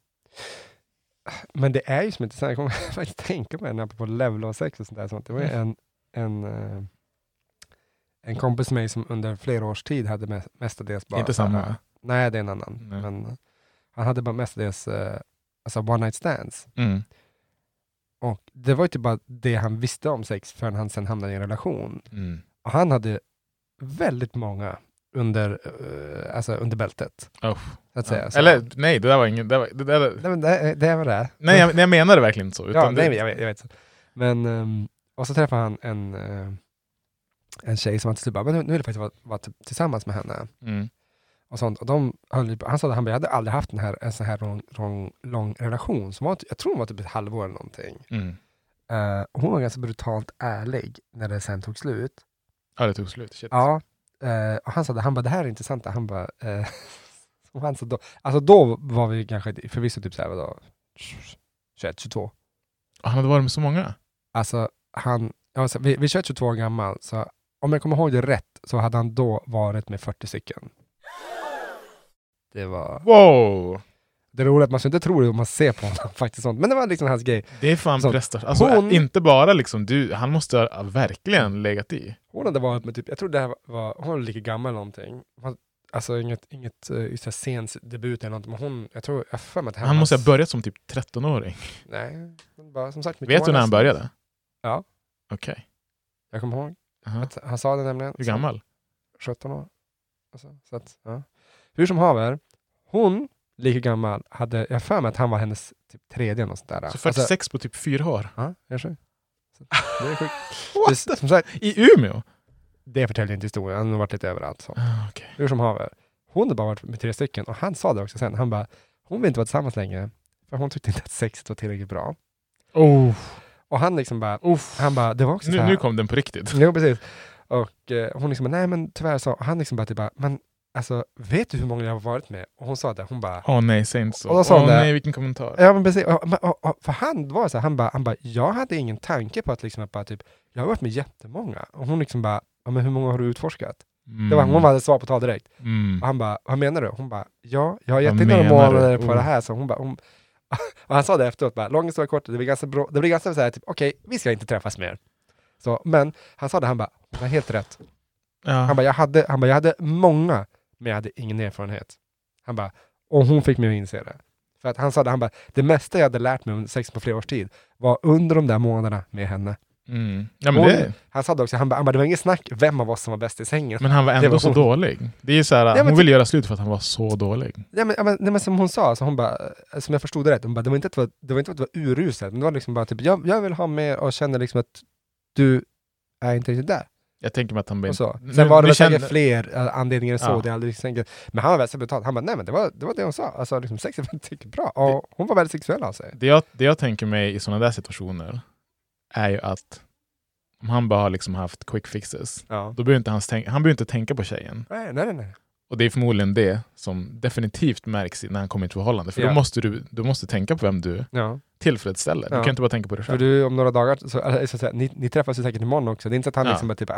Speaker 9: Men det är ju som intressant, jag kommer faktiskt tänka på en på level och sex och sånt där. Sånt. Det var ju
Speaker 10: Mm.
Speaker 9: en, en, eh, en kompis med mig som under flera års tid hade me- mestadels bara...
Speaker 10: inte
Speaker 9: så här,
Speaker 10: samma.
Speaker 9: Nej, det är en annan.
Speaker 10: Nej.
Speaker 9: Men eh, han hade bara mestadels eh, alltså one night stands.
Speaker 10: Mm.
Speaker 9: Och det var ju typ bara det han visste om sex förrän han sen hamnade i en relation.
Speaker 10: Mm.
Speaker 9: Och han hade väldigt många under, eh, alltså under bältet.
Speaker 10: Oh.
Speaker 9: Så att säga. Så,
Speaker 10: Eller nej, det där var inget... Det där var, det där,
Speaker 9: Nej, men det, det var det.
Speaker 10: Nej, jag, nej, jag menade verkligen inte så. Utan
Speaker 9: ja,
Speaker 10: det,
Speaker 9: nej, jag vet. Jag vet. Men, ehm, och så träffade han en, eh, en tjej som han till slut bara, men nu, nu vill jag faktiskt vara, vara typ tillsammans med henne.
Speaker 10: Mm.
Speaker 9: och sånt. Och de höll, ju på- han sa att han bara, jag hade aldrig haft den här, en sån här lång, lång, lång relation. Som var, jag tror hon var typ ett halvår eller någonting.
Speaker 10: Mm.
Speaker 9: Eh, och hon var ganska brutalt ärlig när det sen tog slut.
Speaker 10: Ja, det tog slut. Shit.
Speaker 9: Ja. eh, och han sa det, han bara, det här är intressant. Han bara, eh, och han sa då, alltså då var vi kanske förvisso typ så här, vadå, 21, 22.
Speaker 10: Han hade varit med så många.
Speaker 9: Alltså han, alltså, vi, vi 21, 22 år gammal, så om jag kommer ihåg det rätt så hade han då varit med 40 stycken. Det var...
Speaker 10: Wow!
Speaker 9: Det roliga är att man skulle inte tro det om man ser på honom. faktiskt sånt. Men det var liksom hans grej.
Speaker 10: Det är fan
Speaker 9: Så,
Speaker 10: prestation. Alltså,
Speaker 9: hon-
Speaker 10: Inte bara liksom du, han måste ha verkligen legat i.
Speaker 9: Hon hade varit med typ, jag tror det här var, hon var lika gammal eller någonting. Hon- Alltså inget, inget uh, sens debut eller någonting, men hon, jag tror, jag har för mig att det här
Speaker 10: Han
Speaker 9: var
Speaker 10: måste ha
Speaker 9: hans-
Speaker 10: börjat som typ 13-åring.
Speaker 9: Nej, hon bara, som sagt. mycket
Speaker 10: Vet du när han
Speaker 9: vanligast.
Speaker 10: började?
Speaker 9: Ja.
Speaker 10: Okej.
Speaker 9: Jag kommer ihåg.
Speaker 10: Aha.
Speaker 9: Att han sa det nämligen.
Speaker 10: Hur gammal?
Speaker 9: 17 år. Alltså, så att, ja. Hur som haver, hon, lika gammal, hade, jag har för mig att han var hennes typ, tredje eller något sånt där.
Speaker 10: Så
Speaker 9: Alltså,
Speaker 10: 46 på typ fyra år.
Speaker 9: ja, kanske. Så, det är sjukt.
Speaker 10: What
Speaker 9: Det- Som sagt,
Speaker 10: I Umeå?
Speaker 9: det förtäljer inte historien, han har varit lite överallt. Så.
Speaker 10: Ah, okej.
Speaker 9: hur som haver. Hon hade bara varit med tre stycken och han sa det också sen. Han bara, hon vill inte vara tillsammans längre för hon tyckte inte att sexet var tillräckligt bra.
Speaker 10: Oh.
Speaker 9: Och han liksom bara, han bara, det var också så
Speaker 10: Nu,
Speaker 9: här. Mm.
Speaker 10: nu kom den på riktigt.
Speaker 9: Jo, precis. Och eh, hon liksom, nej men tyvärr så, och han liksom bara, typ bara, men alltså vet du hur många jag har varit med? Och hon sa det, hon bara,
Speaker 10: Åh nej, säg inte så.
Speaker 9: Och då sa
Speaker 10: Åh
Speaker 9: hon det. Eh,
Speaker 10: nej, vilken kommentar.
Speaker 9: Ja, men precis. Och- men- och- och- För han var så här, han bara, han bara, jag hade ingen tanke på att liksom, att bara, typ, jag har varit med jättemånga. Och hon liksom bara, ja, men hur många har du utforskat?
Speaker 10: Mm.
Speaker 9: Det var, hon hade svar på tal direkt.
Speaker 10: Mm.
Speaker 9: Och han bara, vad menar du? Hon bara, ja, jag har
Speaker 10: Vad
Speaker 9: gett in några
Speaker 10: menar du?
Speaker 9: månader på
Speaker 10: Oh.
Speaker 9: det här. Så hon bara, hon, och han sa det efteråt, bara, lång historia kort, det blir ganska bra, det blir ganska så här, typ, okej, vi ska inte träffas mer. Så, men han sa det, han bara, hon har helt rätt. Han
Speaker 10: Ja.
Speaker 9: bara, jag hade, han bara, jag hade många, men jag hade ingen erfarenhet. Han bara, och hon fick mig att inse det. För att han sa det, han bara, det mesta jag hade lärt mig under sex på flera års tid var under de där månaderna med henne.
Speaker 10: Mm. ja, men
Speaker 9: Hon-
Speaker 10: det...
Speaker 9: Han sa det också, han bara, han bara det var inget snack vem av oss som var bäst i sängen.
Speaker 10: Men han var
Speaker 9: Det
Speaker 10: ändå
Speaker 9: var
Speaker 10: så
Speaker 9: hon.
Speaker 10: dålig. Det är ju så här,
Speaker 9: men typ-
Speaker 10: hon
Speaker 9: ty-
Speaker 10: ville göra slut för att han var så dålig.
Speaker 9: Nej, men, ja, men, nej, men som hon sa, så hon bara, eh, som jag förstod det rätt, hon bara, det var inte att det var, det var, inte att det var uruset, men det var liksom bara typ, jag, jag vill ha mer och känner liksom att du är inte riktigt där.
Speaker 10: Jag tänker mig att han... blir-
Speaker 9: Och så.
Speaker 10: Nu-
Speaker 9: Sen var det
Speaker 10: nu
Speaker 9: väl
Speaker 10: känner-
Speaker 9: säkert fler eh, anledningar än så,
Speaker 10: Ja.
Speaker 9: det är aldrig säkert. Men han var väldigt betalt. Han bara, nej men det var det, var det hon sa. Alltså liksom, sex är väldigt bra. Och hon var väldigt sexuell av sig.
Speaker 10: det, jag, det jag tänker mig i sådana där situationer är ju att om han bara har liksom haft quick fixes,
Speaker 9: Ja.
Speaker 10: då behöver inte han, tänka, han behöver inte tänka på tjejen.
Speaker 9: Nej, nej, nej, nej.
Speaker 10: Och det är förmodligen det som definitivt märks i- när han kommer i ett förhållande. För
Speaker 9: Ja.
Speaker 10: då måste du, du måste tänka på vem du
Speaker 9: Ja.
Speaker 10: tillfredsställer. Du
Speaker 9: Ja.
Speaker 10: kan inte bara tänka på dig
Speaker 9: För
Speaker 10: själv.
Speaker 9: du, om några dagar, så, eller, så att säga, ni, ni träffas ju säkert imorgon också. Det är inte så att han
Speaker 10: Ja.
Speaker 9: liksom bara typ,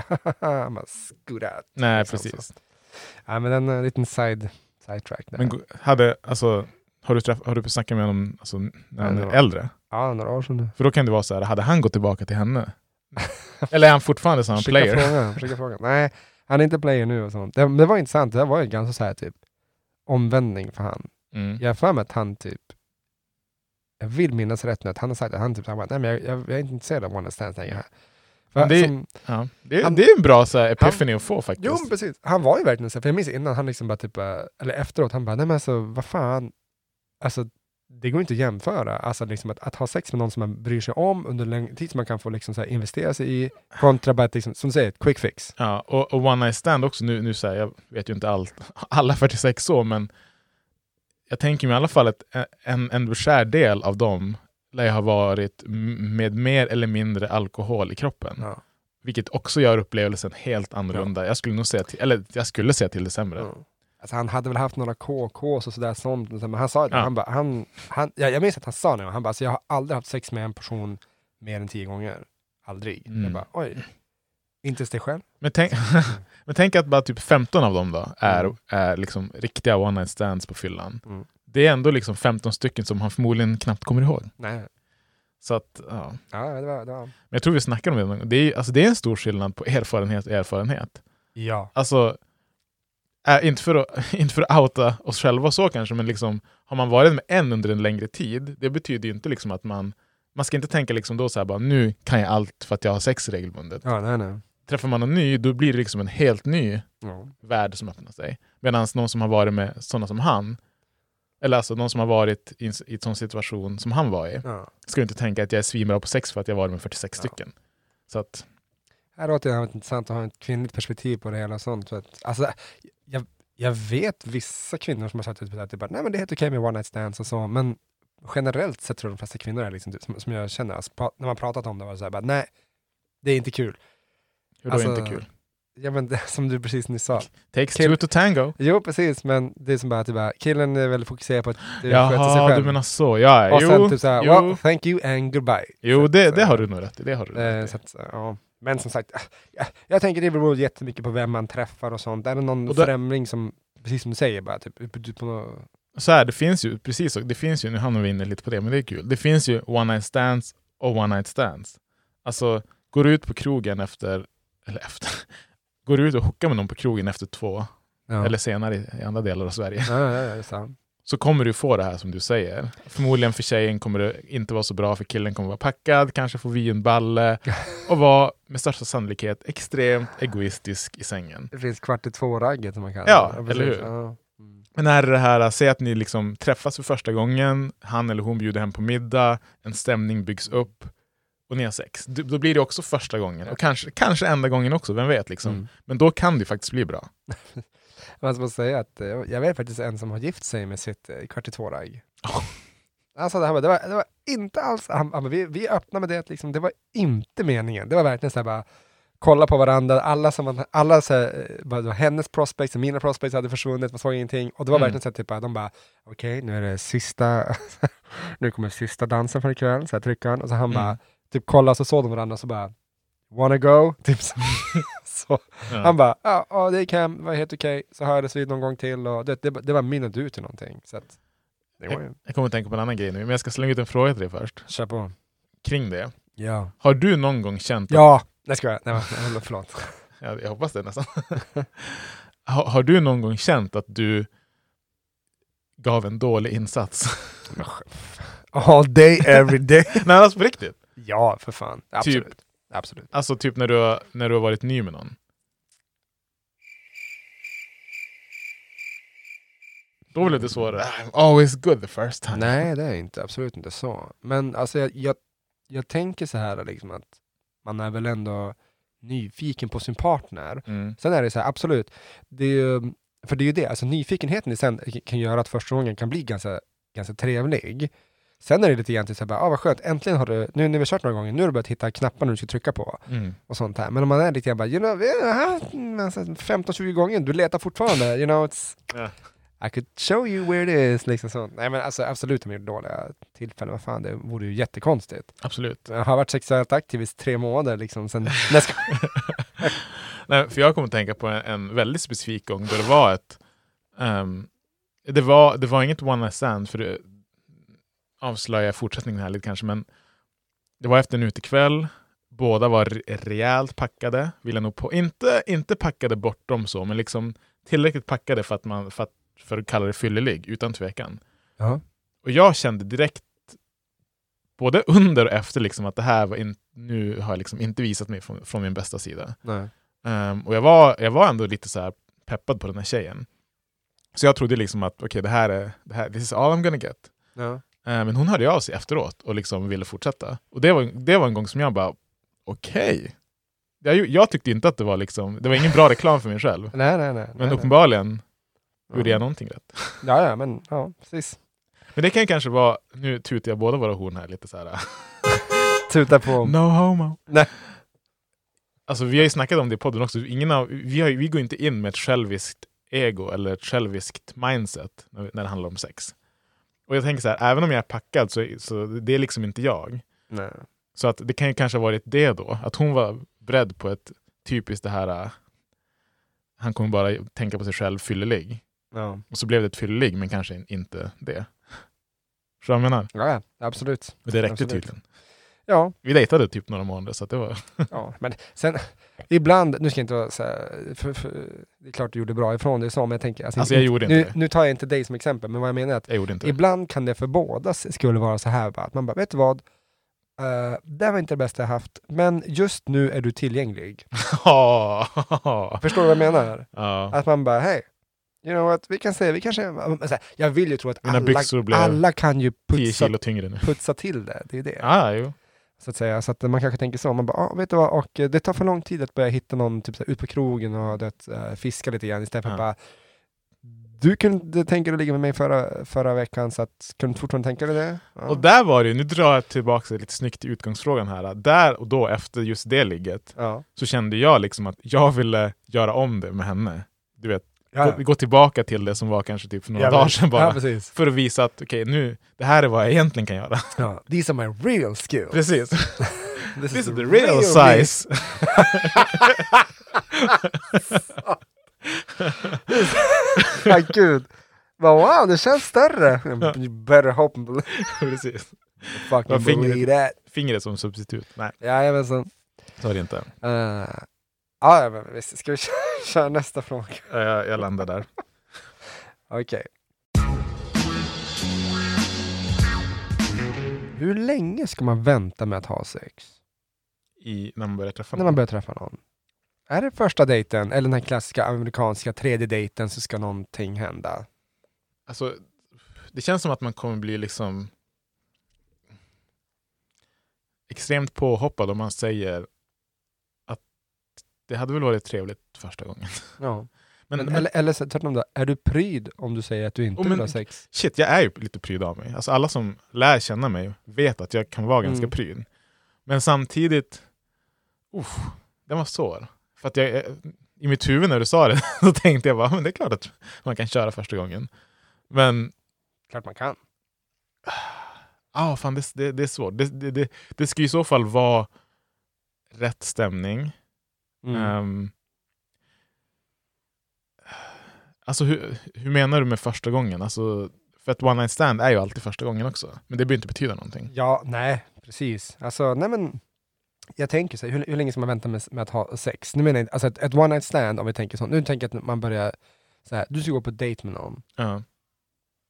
Speaker 9: haha, man skurat.
Speaker 10: Nej,
Speaker 9: liksom
Speaker 10: precis.
Speaker 9: så. Ja, men en eh, liten side, side track där.
Speaker 10: Men go- hade, alltså, har, du träff, har du snackat med honom alltså, när han
Speaker 9: Nej, det
Speaker 10: är
Speaker 9: var-
Speaker 10: äldre?
Speaker 9: ja, några år sedan nu.
Speaker 10: För då kan det vara så här, hade han gått tillbaka till henne? Eller är han fortfarande samma
Speaker 9: Skicka
Speaker 10: player?
Speaker 9: frågan, skicka frågan. Nej, han är inte player nu och sånt. Det, det var intressant. Det där var ju en ganska så här typ omvändning för han.
Speaker 10: Mm.
Speaker 9: Jag har för mig att han typ, jag vill minnas rätt nu, att han har sagt att han typ, han bara, nej men jag, jag, jag är inte intresserad av One Stand längre. För
Speaker 10: Men det-
Speaker 9: som,
Speaker 10: Ja. Det, är,
Speaker 9: Han-
Speaker 10: det är en bra så här, epiphany att få faktiskt.
Speaker 9: jo men precis, han var ju verkligen så, här, för jag minns innan han liksom bara typ, eh, eller efteråt, han bara, nej men alltså vad fan, alltså det går inte att jämföra, alltså liksom att, att ha sex med någon som man bryr sig om under längre tid som man kan få liksom så här investera sig i, kontra bara att liksom, som du säger, ett quick fix.
Speaker 10: Ja, och, och One Night Stand också, nu, nu så här, jag vet ju inte allt, alla 46 år, men jag tänker mig i alla fall att en, en beskärd del av dem lär ju ha varit m- med mer eller mindre alkohol i kroppen.
Speaker 9: Ja.
Speaker 10: Vilket också gör upplevelsen helt annorlunda. Jag skulle nog säga till, eller jag skulle säga till det sämre.
Speaker 9: Mm. Alltså han hade väl haft några KKs och sådär sånt, men men han sa ju det,
Speaker 10: Ja.
Speaker 9: han bara, han, han, jag, jag minns att han sa det, han bara, alltså, jag har aldrig haft sex med en person mer än tio gånger. Aldrig.
Speaker 10: Mm.
Speaker 9: Jag bara, oj. Inte ens dig själv?
Speaker 10: Men, tänk, men tänk att bara typ 15 av dem då är,
Speaker 9: Mm.
Speaker 10: är liksom riktiga One Night Stands på fyllan.
Speaker 9: Mm.
Speaker 10: Det är ändå liksom 15 stycken som han förmodligen knappt kommer ihåg.
Speaker 9: Nej.
Speaker 10: Så att, ja.
Speaker 9: Ja, det var, det var.
Speaker 10: Men jag tror vi snackar om det. någon gång. Det är, ju- alltså, det är en stor skillnad på erfarenhet och erfarenhet.
Speaker 9: Ja.
Speaker 10: Alltså, äh, inte, för att, inte för att outa oss själva så kanske, men liksom, har man varit med en under en längre tid, det betyder ju inte liksom att man... Man ska inte tänka liksom då så här, bara, nu kan jag allt för att jag har sex regelbundet.
Speaker 9: Ja, nej, nej.
Speaker 10: Träffar man en ny, då blir det liksom en helt ny
Speaker 9: Ja.
Speaker 10: värld som öppnar sig. Medan någon som har varit med sådana som han, eller alltså någon som har varit i en, s- i en sån situation som han var i,
Speaker 9: Ja.
Speaker 10: ska ju inte tänka att jag är svinbra på sex för att jag varit med 46
Speaker 9: Ja.
Speaker 10: stycken. Så att,
Speaker 9: Här har det varit intressant att ha ett kvinnligt perspektiv på det hela och sånt. För att, alltså, jag, jag vet vissa kvinnor som har sagt typ, att det bara, nej men det är helt okej med one night stands och så, men generellt sett tror jag de flesta kvinnor är liksom, typ, som, som jag känner, alltså, pra- när man pratat om det var det så här, bara, nej, det är inte kul.
Speaker 10: Hur då
Speaker 9: Alltså-
Speaker 10: inte kul?
Speaker 9: Ja men det, som du precis nyss sa.
Speaker 10: Takes
Speaker 9: Kill-
Speaker 10: two to tango.
Speaker 9: Jo precis, men det är som bara, typ, bara killen är väldigt fokuserad på att eh, sköta sig
Speaker 10: Jaha,
Speaker 9: själv.
Speaker 10: du menar så. Ja,
Speaker 9: och
Speaker 10: jo,
Speaker 9: sen typ såhär,
Speaker 10: jo,
Speaker 9: well, thank you and goodbye.
Speaker 10: jo
Speaker 9: Så-
Speaker 10: det,
Speaker 9: så-
Speaker 10: det har du nog rätt i. Det har du nog
Speaker 9: Eh,
Speaker 10: rätt
Speaker 9: så
Speaker 10: i.
Speaker 9: att, ja. Men som sagt, eh, jag, jag tänker det beror jättemycket på vem man träffar och sånt. Är det någon
Speaker 10: Och där-
Speaker 9: främling som, precis som du säger, bara typ, upp- typ på något,
Speaker 10: Så här, det finns ju, precis, så, det finns ju, nu hamnar vi inne lite på det, men det är kul. Det finns ju one night stands och one night stands. Alltså, går du ut på krogen efter, eller efter, går du ut och hookar med någon på krogen efter två,
Speaker 9: ja.
Speaker 10: eller senare i, i andra delar av Sverige,
Speaker 9: Ja, ja, ja, just det.
Speaker 10: så kommer du få det här som du säger. Förmodligen för tjejen kommer det inte vara så bra, för killen kommer vara packad, kanske få vinballe och vara med största sannolikhet extremt egoistisk i sängen.
Speaker 9: Det finns kvart i två-ragget som man kallar
Speaker 10: Ja,
Speaker 9: det.
Speaker 10: eller
Speaker 9: precis.
Speaker 10: hur?
Speaker 9: Ja. Mm.
Speaker 10: Men är det det här, säg att ni liksom träffas för första gången, han eller hon bjuder hem på middag, en stämning byggs upp och ni har sex. Du- Då blir det också första gången och kanske, kanske enda gången också, vem vet. Liksom.
Speaker 9: Mm.
Speaker 10: Men då kan det ju faktiskt bli bra.
Speaker 9: Men jag måste säga att eh, jag vet faktiskt en som har gift sig med sitt eh, kvart i två-ragg.
Speaker 10: Ja.
Speaker 9: Alltså det, här var, det, var, det var inte alls, han, han, bara, vi, vi öppnade med det att liksom, det var inte meningen. Det var verkligen så här bara, kolla på varandra, alla, som man, alla så här, eh, vad det var hennes prospects, och mina prospects hade försvunnit, man såg ingenting. Och det var
Speaker 10: Mm.
Speaker 9: verkligen så här, typ, att de bara, okej, nu är det sista, nu kommer sista dansen för ikväll, så här trycker han. Och så han
Speaker 10: Mm.
Speaker 9: bara, typ kolla, så såg de varandra, så bara, wanna go? Typ så. så.
Speaker 10: Ja.
Speaker 9: Han bara, ja, ja, det kan, det var helt okej. Så hördes vi någon gång till och det, det, det var min och du till någonting. Så att, det var ju,
Speaker 10: Jag kommer att tänka på en annan grej nu, men jag ska slänga ut en fråga till dig först.
Speaker 9: kör på.
Speaker 10: Kring det.
Speaker 9: Ja.
Speaker 10: Har du någon gång känt... Att,
Speaker 9: Ja, nej ska jag. Nej, men- men förlåt.
Speaker 10: ja, jag hoppas det nästan. har, har du någon gång känt att du gav en dålig insats?
Speaker 9: All day, every day.
Speaker 10: Nej, alltså på riktigt.
Speaker 9: ja, för fan. Absolut.
Speaker 10: Typ.
Speaker 9: Absolut.
Speaker 10: Alltså typ när du, har, när du har varit ny med någon. Då blev det svårare. I'm Ah, always good the first time.
Speaker 9: Nej, det är inte. Absolut inte så. Men alltså, jag, jag, jag tänker så här liksom att man är väl ändå nyfiken på sin partner.
Speaker 10: Mm.
Speaker 9: Sen är det så här, absolut. Det är ju, för det är ju det, alltså nyfikenheten i sen kan göra att första gången kan bli ganska, ganska trevlig. Sen är det lite grann till så här, bara, ah, vad skönt, äntligen har du, nu när vi har kört några gånger, nu har du börjat hitta knappar nu du ska trycka på.
Speaker 10: Mm.
Speaker 9: och sånt här. Men om man är lite grann bara, you know, eh, alltså, 15-20 gånger, du letar fortfarande, you know, it's,
Speaker 10: Ja.
Speaker 9: I could show you where it is, liksom sånt. Nej men alltså absolut, de gjorde dåliga tillfällen, vad fan, det vore ju jättekonstigt.
Speaker 10: Absolut.
Speaker 9: Jag har varit sexuellt aktiv i tre månader liksom, sen nästa
Speaker 10: Nej, för jag kommer att tänka på en, en väldigt specifik gång då det var ett... ehm, det, var, det var inget one night stand, för det avslöjar fortsättningen här lite kanske, men det var efter en utekväll. Båda var re- rejält packade, vill jag nog på. Inte, inte packade bortom så, men liksom tillräckligt packade för att, man, för att, för att kalla det fyllelig, utan tvekan.
Speaker 9: Ja.
Speaker 10: Och jag kände direkt, både under och efter, liksom, att det här var in, nu har jag liksom inte visat mig från, från min bästa sida.
Speaker 9: Nej.
Speaker 10: Ehm, och jag var, jag var ändå lite så här peppad på den här tjejen. Så jag trodde liksom att okej, det här är, det här, this is all I'm gonna get.
Speaker 9: Ja.
Speaker 10: Ehm, men hon hörde ju av sig efteråt och liksom ville fortsätta. Och det var, det var en gång som jag bara, okej. Jag, ju- jag tyckte inte att det var liksom, det var ingen bra reklam för mig själv.
Speaker 9: Nej, nej, nej.
Speaker 10: Men
Speaker 9: nej,
Speaker 10: uppenbarligen
Speaker 9: nej.
Speaker 10: gjorde jag någonting rätt.
Speaker 9: Ja, ja, men ja, precis.
Speaker 10: Men det kan ju kanske vara, nu tutar jag båda våra horn här lite så här.
Speaker 9: Tuta på.
Speaker 10: No homo.
Speaker 9: Nej.
Speaker 10: Alltså vi har ju snackat om det i podden också. Ingen av, vi, har, ju- vi går inte in med ett själviskt ego eller ett själviskt mindset när, när det handlar om sex. Och jag tänker så här, även om jag är packad så, så det är liksom inte jag.
Speaker 9: Nej.
Speaker 10: Så att det kan ju kanske ha varit det då, att hon var beredd på ett typiskt det här, äh, han kommer bara tänka på sig själv fyllelig.
Speaker 9: Ja.
Speaker 10: Och så blev det ett fyllelig, men kanske in- inte det. Förstår du vad jag menar?
Speaker 9: ja, ja, absolut.
Speaker 10: Och det räckte
Speaker 9: Absolut.
Speaker 10: tydligen.
Speaker 9: Ja,
Speaker 10: Vi dejtade typ några månader, så att det var...
Speaker 9: Ja, men sen ibland, nu ska jag inte vara så här, för, för, det är klart du gjorde bra ifrån dig så, men jag tänker...
Speaker 10: Alltså, jag gjorde
Speaker 9: nu,
Speaker 10: inte det.
Speaker 9: Nu tar jag inte dig som exempel, men vad jag menar är att
Speaker 10: Jag gjorde inte det.
Speaker 9: ibland kan det för båda s- skulle vara så här, bara, att man bara, vet du vad? Eh, det här var inte det bästa jag haft, men just nu är du tillgänglig.
Speaker 10: Ja.
Speaker 9: Förstår du vad jag menar?
Speaker 10: Ja.
Speaker 9: Att man bara, hej, you know what, vi kan säga, vi kanske... Så här, Jag vill ju tro att
Speaker 10: Mina byxor
Speaker 9: alla,
Speaker 10: blev
Speaker 9: alla kan ju
Speaker 10: 10
Speaker 9: putsa,
Speaker 10: kilo tyngre nu.
Speaker 9: putsa till det, det är det.
Speaker 10: Ah, jo.
Speaker 9: Så att säga, så att man kanske tänker så, man bara, ah, vet du vad, och eh, det tar för lång tid att börja hitta någon typ så här, ut på krogen och du vet, eh, fiska lite grann istället för att
Speaker 10: Ja.
Speaker 9: bara, du kunde tänka dig att ligga med mig förra, förra veckan, så att, kunde du fortfarande tänka dig det? Ja.
Speaker 10: Och där var det ju, nu drar jag tillbaka lite snyggt till utgångsfrågan här. Där och då, efter just det ligget,
Speaker 9: ja.
Speaker 10: så kände jag liksom att jag ville göra om det med henne. Du vet,
Speaker 9: Ja, ja.
Speaker 10: gå, gå tillbaka till det som var kanske typ för några
Speaker 9: Ja, men-
Speaker 10: dagar sedan
Speaker 9: Ja,
Speaker 10: bara.
Speaker 9: precis.
Speaker 10: för att visa att okej, nu, det här är vad jag egentligen kan göra.
Speaker 9: Ja. These are my real skills.
Speaker 10: Precis.
Speaker 9: This,
Speaker 10: This is the real size.
Speaker 9: Ja, gud. Bara, wow, det känns större. You better hope and believe-
Speaker 10: Precis.
Speaker 9: fucking
Speaker 10: Vad fingret-
Speaker 9: believe that.
Speaker 10: Fingret som substitut. Nej,
Speaker 9: Jajamensan.
Speaker 10: så är det inte.
Speaker 9: Uh, ja, ja, men visst, ska vi köra, köra nästa fråga?
Speaker 10: Eh, Jag, jag landar där.
Speaker 9: Okej. Hur länge ska man vänta med att ha sex?
Speaker 10: I, när man börjar träffa
Speaker 9: När man börjar träffa någon? Är det första dejten eller den här klassiska amerikanska tredje dejten så ska någonting hända?
Speaker 10: alltså, det känns som att man kommer bli liksom extremt påhoppad om man säger att det hade väl varit trevligt första gången.
Speaker 9: Ja.
Speaker 10: Men, men,
Speaker 9: eller, eller så- tvärtom då, är du pryd om du säger att du inte
Speaker 10: Oh, men-
Speaker 9: vill ha sex?
Speaker 10: shit, jag är ju lite pryd av mig. Alltså, alla som lär känna Mm. mig vet att jag kan vara ganska
Speaker 9: Mm.
Speaker 10: pryd. Men samtidigt, uff, Den var svår. För att jag, eh, I mitt huvud när du sa det så tänkte jag bara, men det är klart att man kan köra första gången. Men,
Speaker 9: Klart man kan.
Speaker 10: ah, fan det, det, det är svårt. Det, det, det, det ska ju i så fall vara rätt stämning.
Speaker 9: Mm.
Speaker 10: Ehm, alltså hur, hur menar du med första gången? Alltså, för att one night stand är ju alltid första gången också. Men det behöver inte betyda någonting.
Speaker 9: Ja, nej, precis. Alltså, nej men, jag tänker så här, hur, hur länge ska man vänta med, med att ha sex? Nu menar jag, inte- alltså ett, ett one night stand, om vi tänker så. Nu tänker jag att man börjar så här, du ska gå på dejt med någon.
Speaker 10: Ja.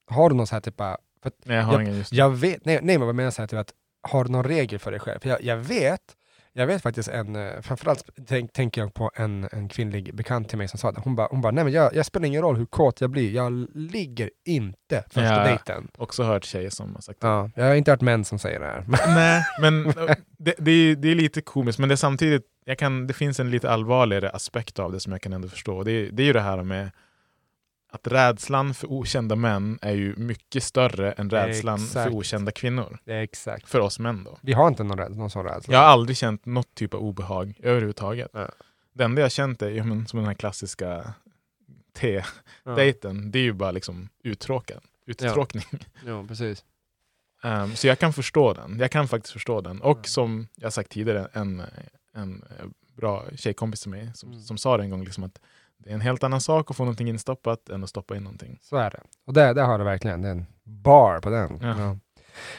Speaker 9: Har du någon så här typ bara, för att
Speaker 10: Nej, jag har
Speaker 9: Ja.
Speaker 10: ingen just
Speaker 9: jag vet, nej, nej men vad jag menar jag så här typ att, har du någon regel för dig själv? För jag, jag vet, jag vet faktiskt en, eh, framförallt tänk, tänker jag på en, en kvinnlig bekant till mig som sa det. Hon bara, hon bara nej men jag, jag spelar ingen roll hur kåt jag blir, jag ligger inte första
Speaker 10: Ja.
Speaker 9: dejten.
Speaker 10: också hört tjejer som har sagt det.
Speaker 9: Ja, jag har inte hört män som säger det här.
Speaker 10: Nej, men eh, det, det, är, det är lite komiskt. Men det är samtidigt, jag kan, det finns en lite allvarligare aspekt av det som jag kan ändå förstå. Det, är- det är ju det här med att rädslan för okända män är ju mycket större än rädslan
Speaker 9: Exakt.
Speaker 10: för okända kvinnor.
Speaker 9: Exakt.
Speaker 10: För oss män då.
Speaker 9: Vi har inte någon, rädsla- någon sån rädsla.
Speaker 10: Jag har aldrig känt något typ av obehag överhuvudtaget.
Speaker 9: Nej.
Speaker 10: Det enda jag känt är ja, men, som den här klassiska
Speaker 9: Ja.
Speaker 10: T-dejten. Det är ju bara liksom uttråkad. Uttråkning.
Speaker 9: Jo, precis.
Speaker 10: Ehm, så jag kan förstå den. Jag kan faktiskt förstå den. Och
Speaker 9: Mm.
Speaker 10: som jag sagt tidigare, en, en eh, bra tjejkompis till mig som,
Speaker 9: Mm.
Speaker 10: som sa det en gång, liksom att det är en helt annan sak att få någonting instoppat än att stoppa in någonting.
Speaker 9: Så är det. Och där, där har du verkligen, det är en bar på den.
Speaker 10: Ja.
Speaker 9: Ja.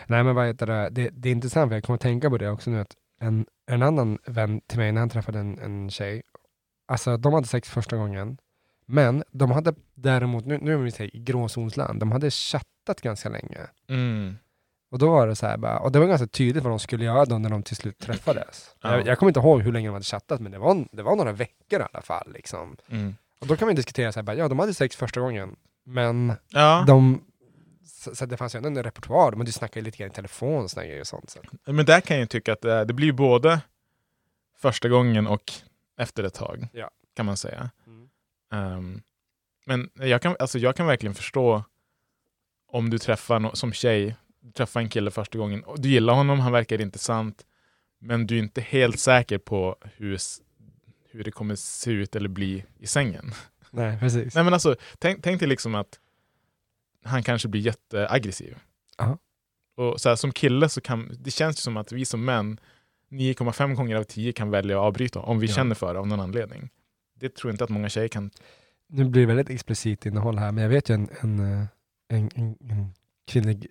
Speaker 9: Nej men vad heter det, det, det är intressant för jag kommer att tänka på det också nu att en, en annan vän till mig när han träffade en, en tjej, alltså de hade sex första gången, men de hade däremot, nu, nu är vi så här i gråzonsland, de hade chattat ganska länge.
Speaker 10: Mm.
Speaker 9: Och då var det så här bara, och det var ganska tydligt vad de skulle göra då när de till slut träffades.
Speaker 10: Ja.
Speaker 9: Jag, jag kommer inte ihåg hur länge de hade chattat, men det var, det var några veckor i alla fall. Liksom.
Speaker 10: Mm.
Speaker 9: Och då kan man ju diskutera så här bara, ja de hade sex första gången, men
Speaker 10: Ja,
Speaker 9: de, så, så det fanns ju ändå en repertoar, de hade ju snackat lite grann i telefon och såna grejer och sånt. Så.
Speaker 10: men där kan jag ju tycka att det, det blir ju både första gången och efter ett tag,
Speaker 9: Ja.
Speaker 10: kan man säga.
Speaker 9: Mm.
Speaker 10: Ehm, men jag kan, alltså jag kan verkligen förstå om du träffar no- som tjej, träffar en kille första gången, och du gillar honom, han verkar intressant, men du är inte helt säker på hur, s- hur det kommer se ut eller bli i sängen.
Speaker 9: Nej, precis.
Speaker 10: Nej men alltså, tänk, tänk dig liksom att han kanske blir jätteaggressiv.
Speaker 9: Ja.
Speaker 10: Och så här, som kille så kan, det känns ju som att vi som män 9,5 gånger av 10 kan välja att avbryta om vi
Speaker 9: Ja.
Speaker 10: känner för det av någon anledning. Det tror jag inte att många tjejer kan
Speaker 9: Nu blir det väldigt explicit innehåll här, men jag vet ju en, en, eh, en, en, en kvinnlig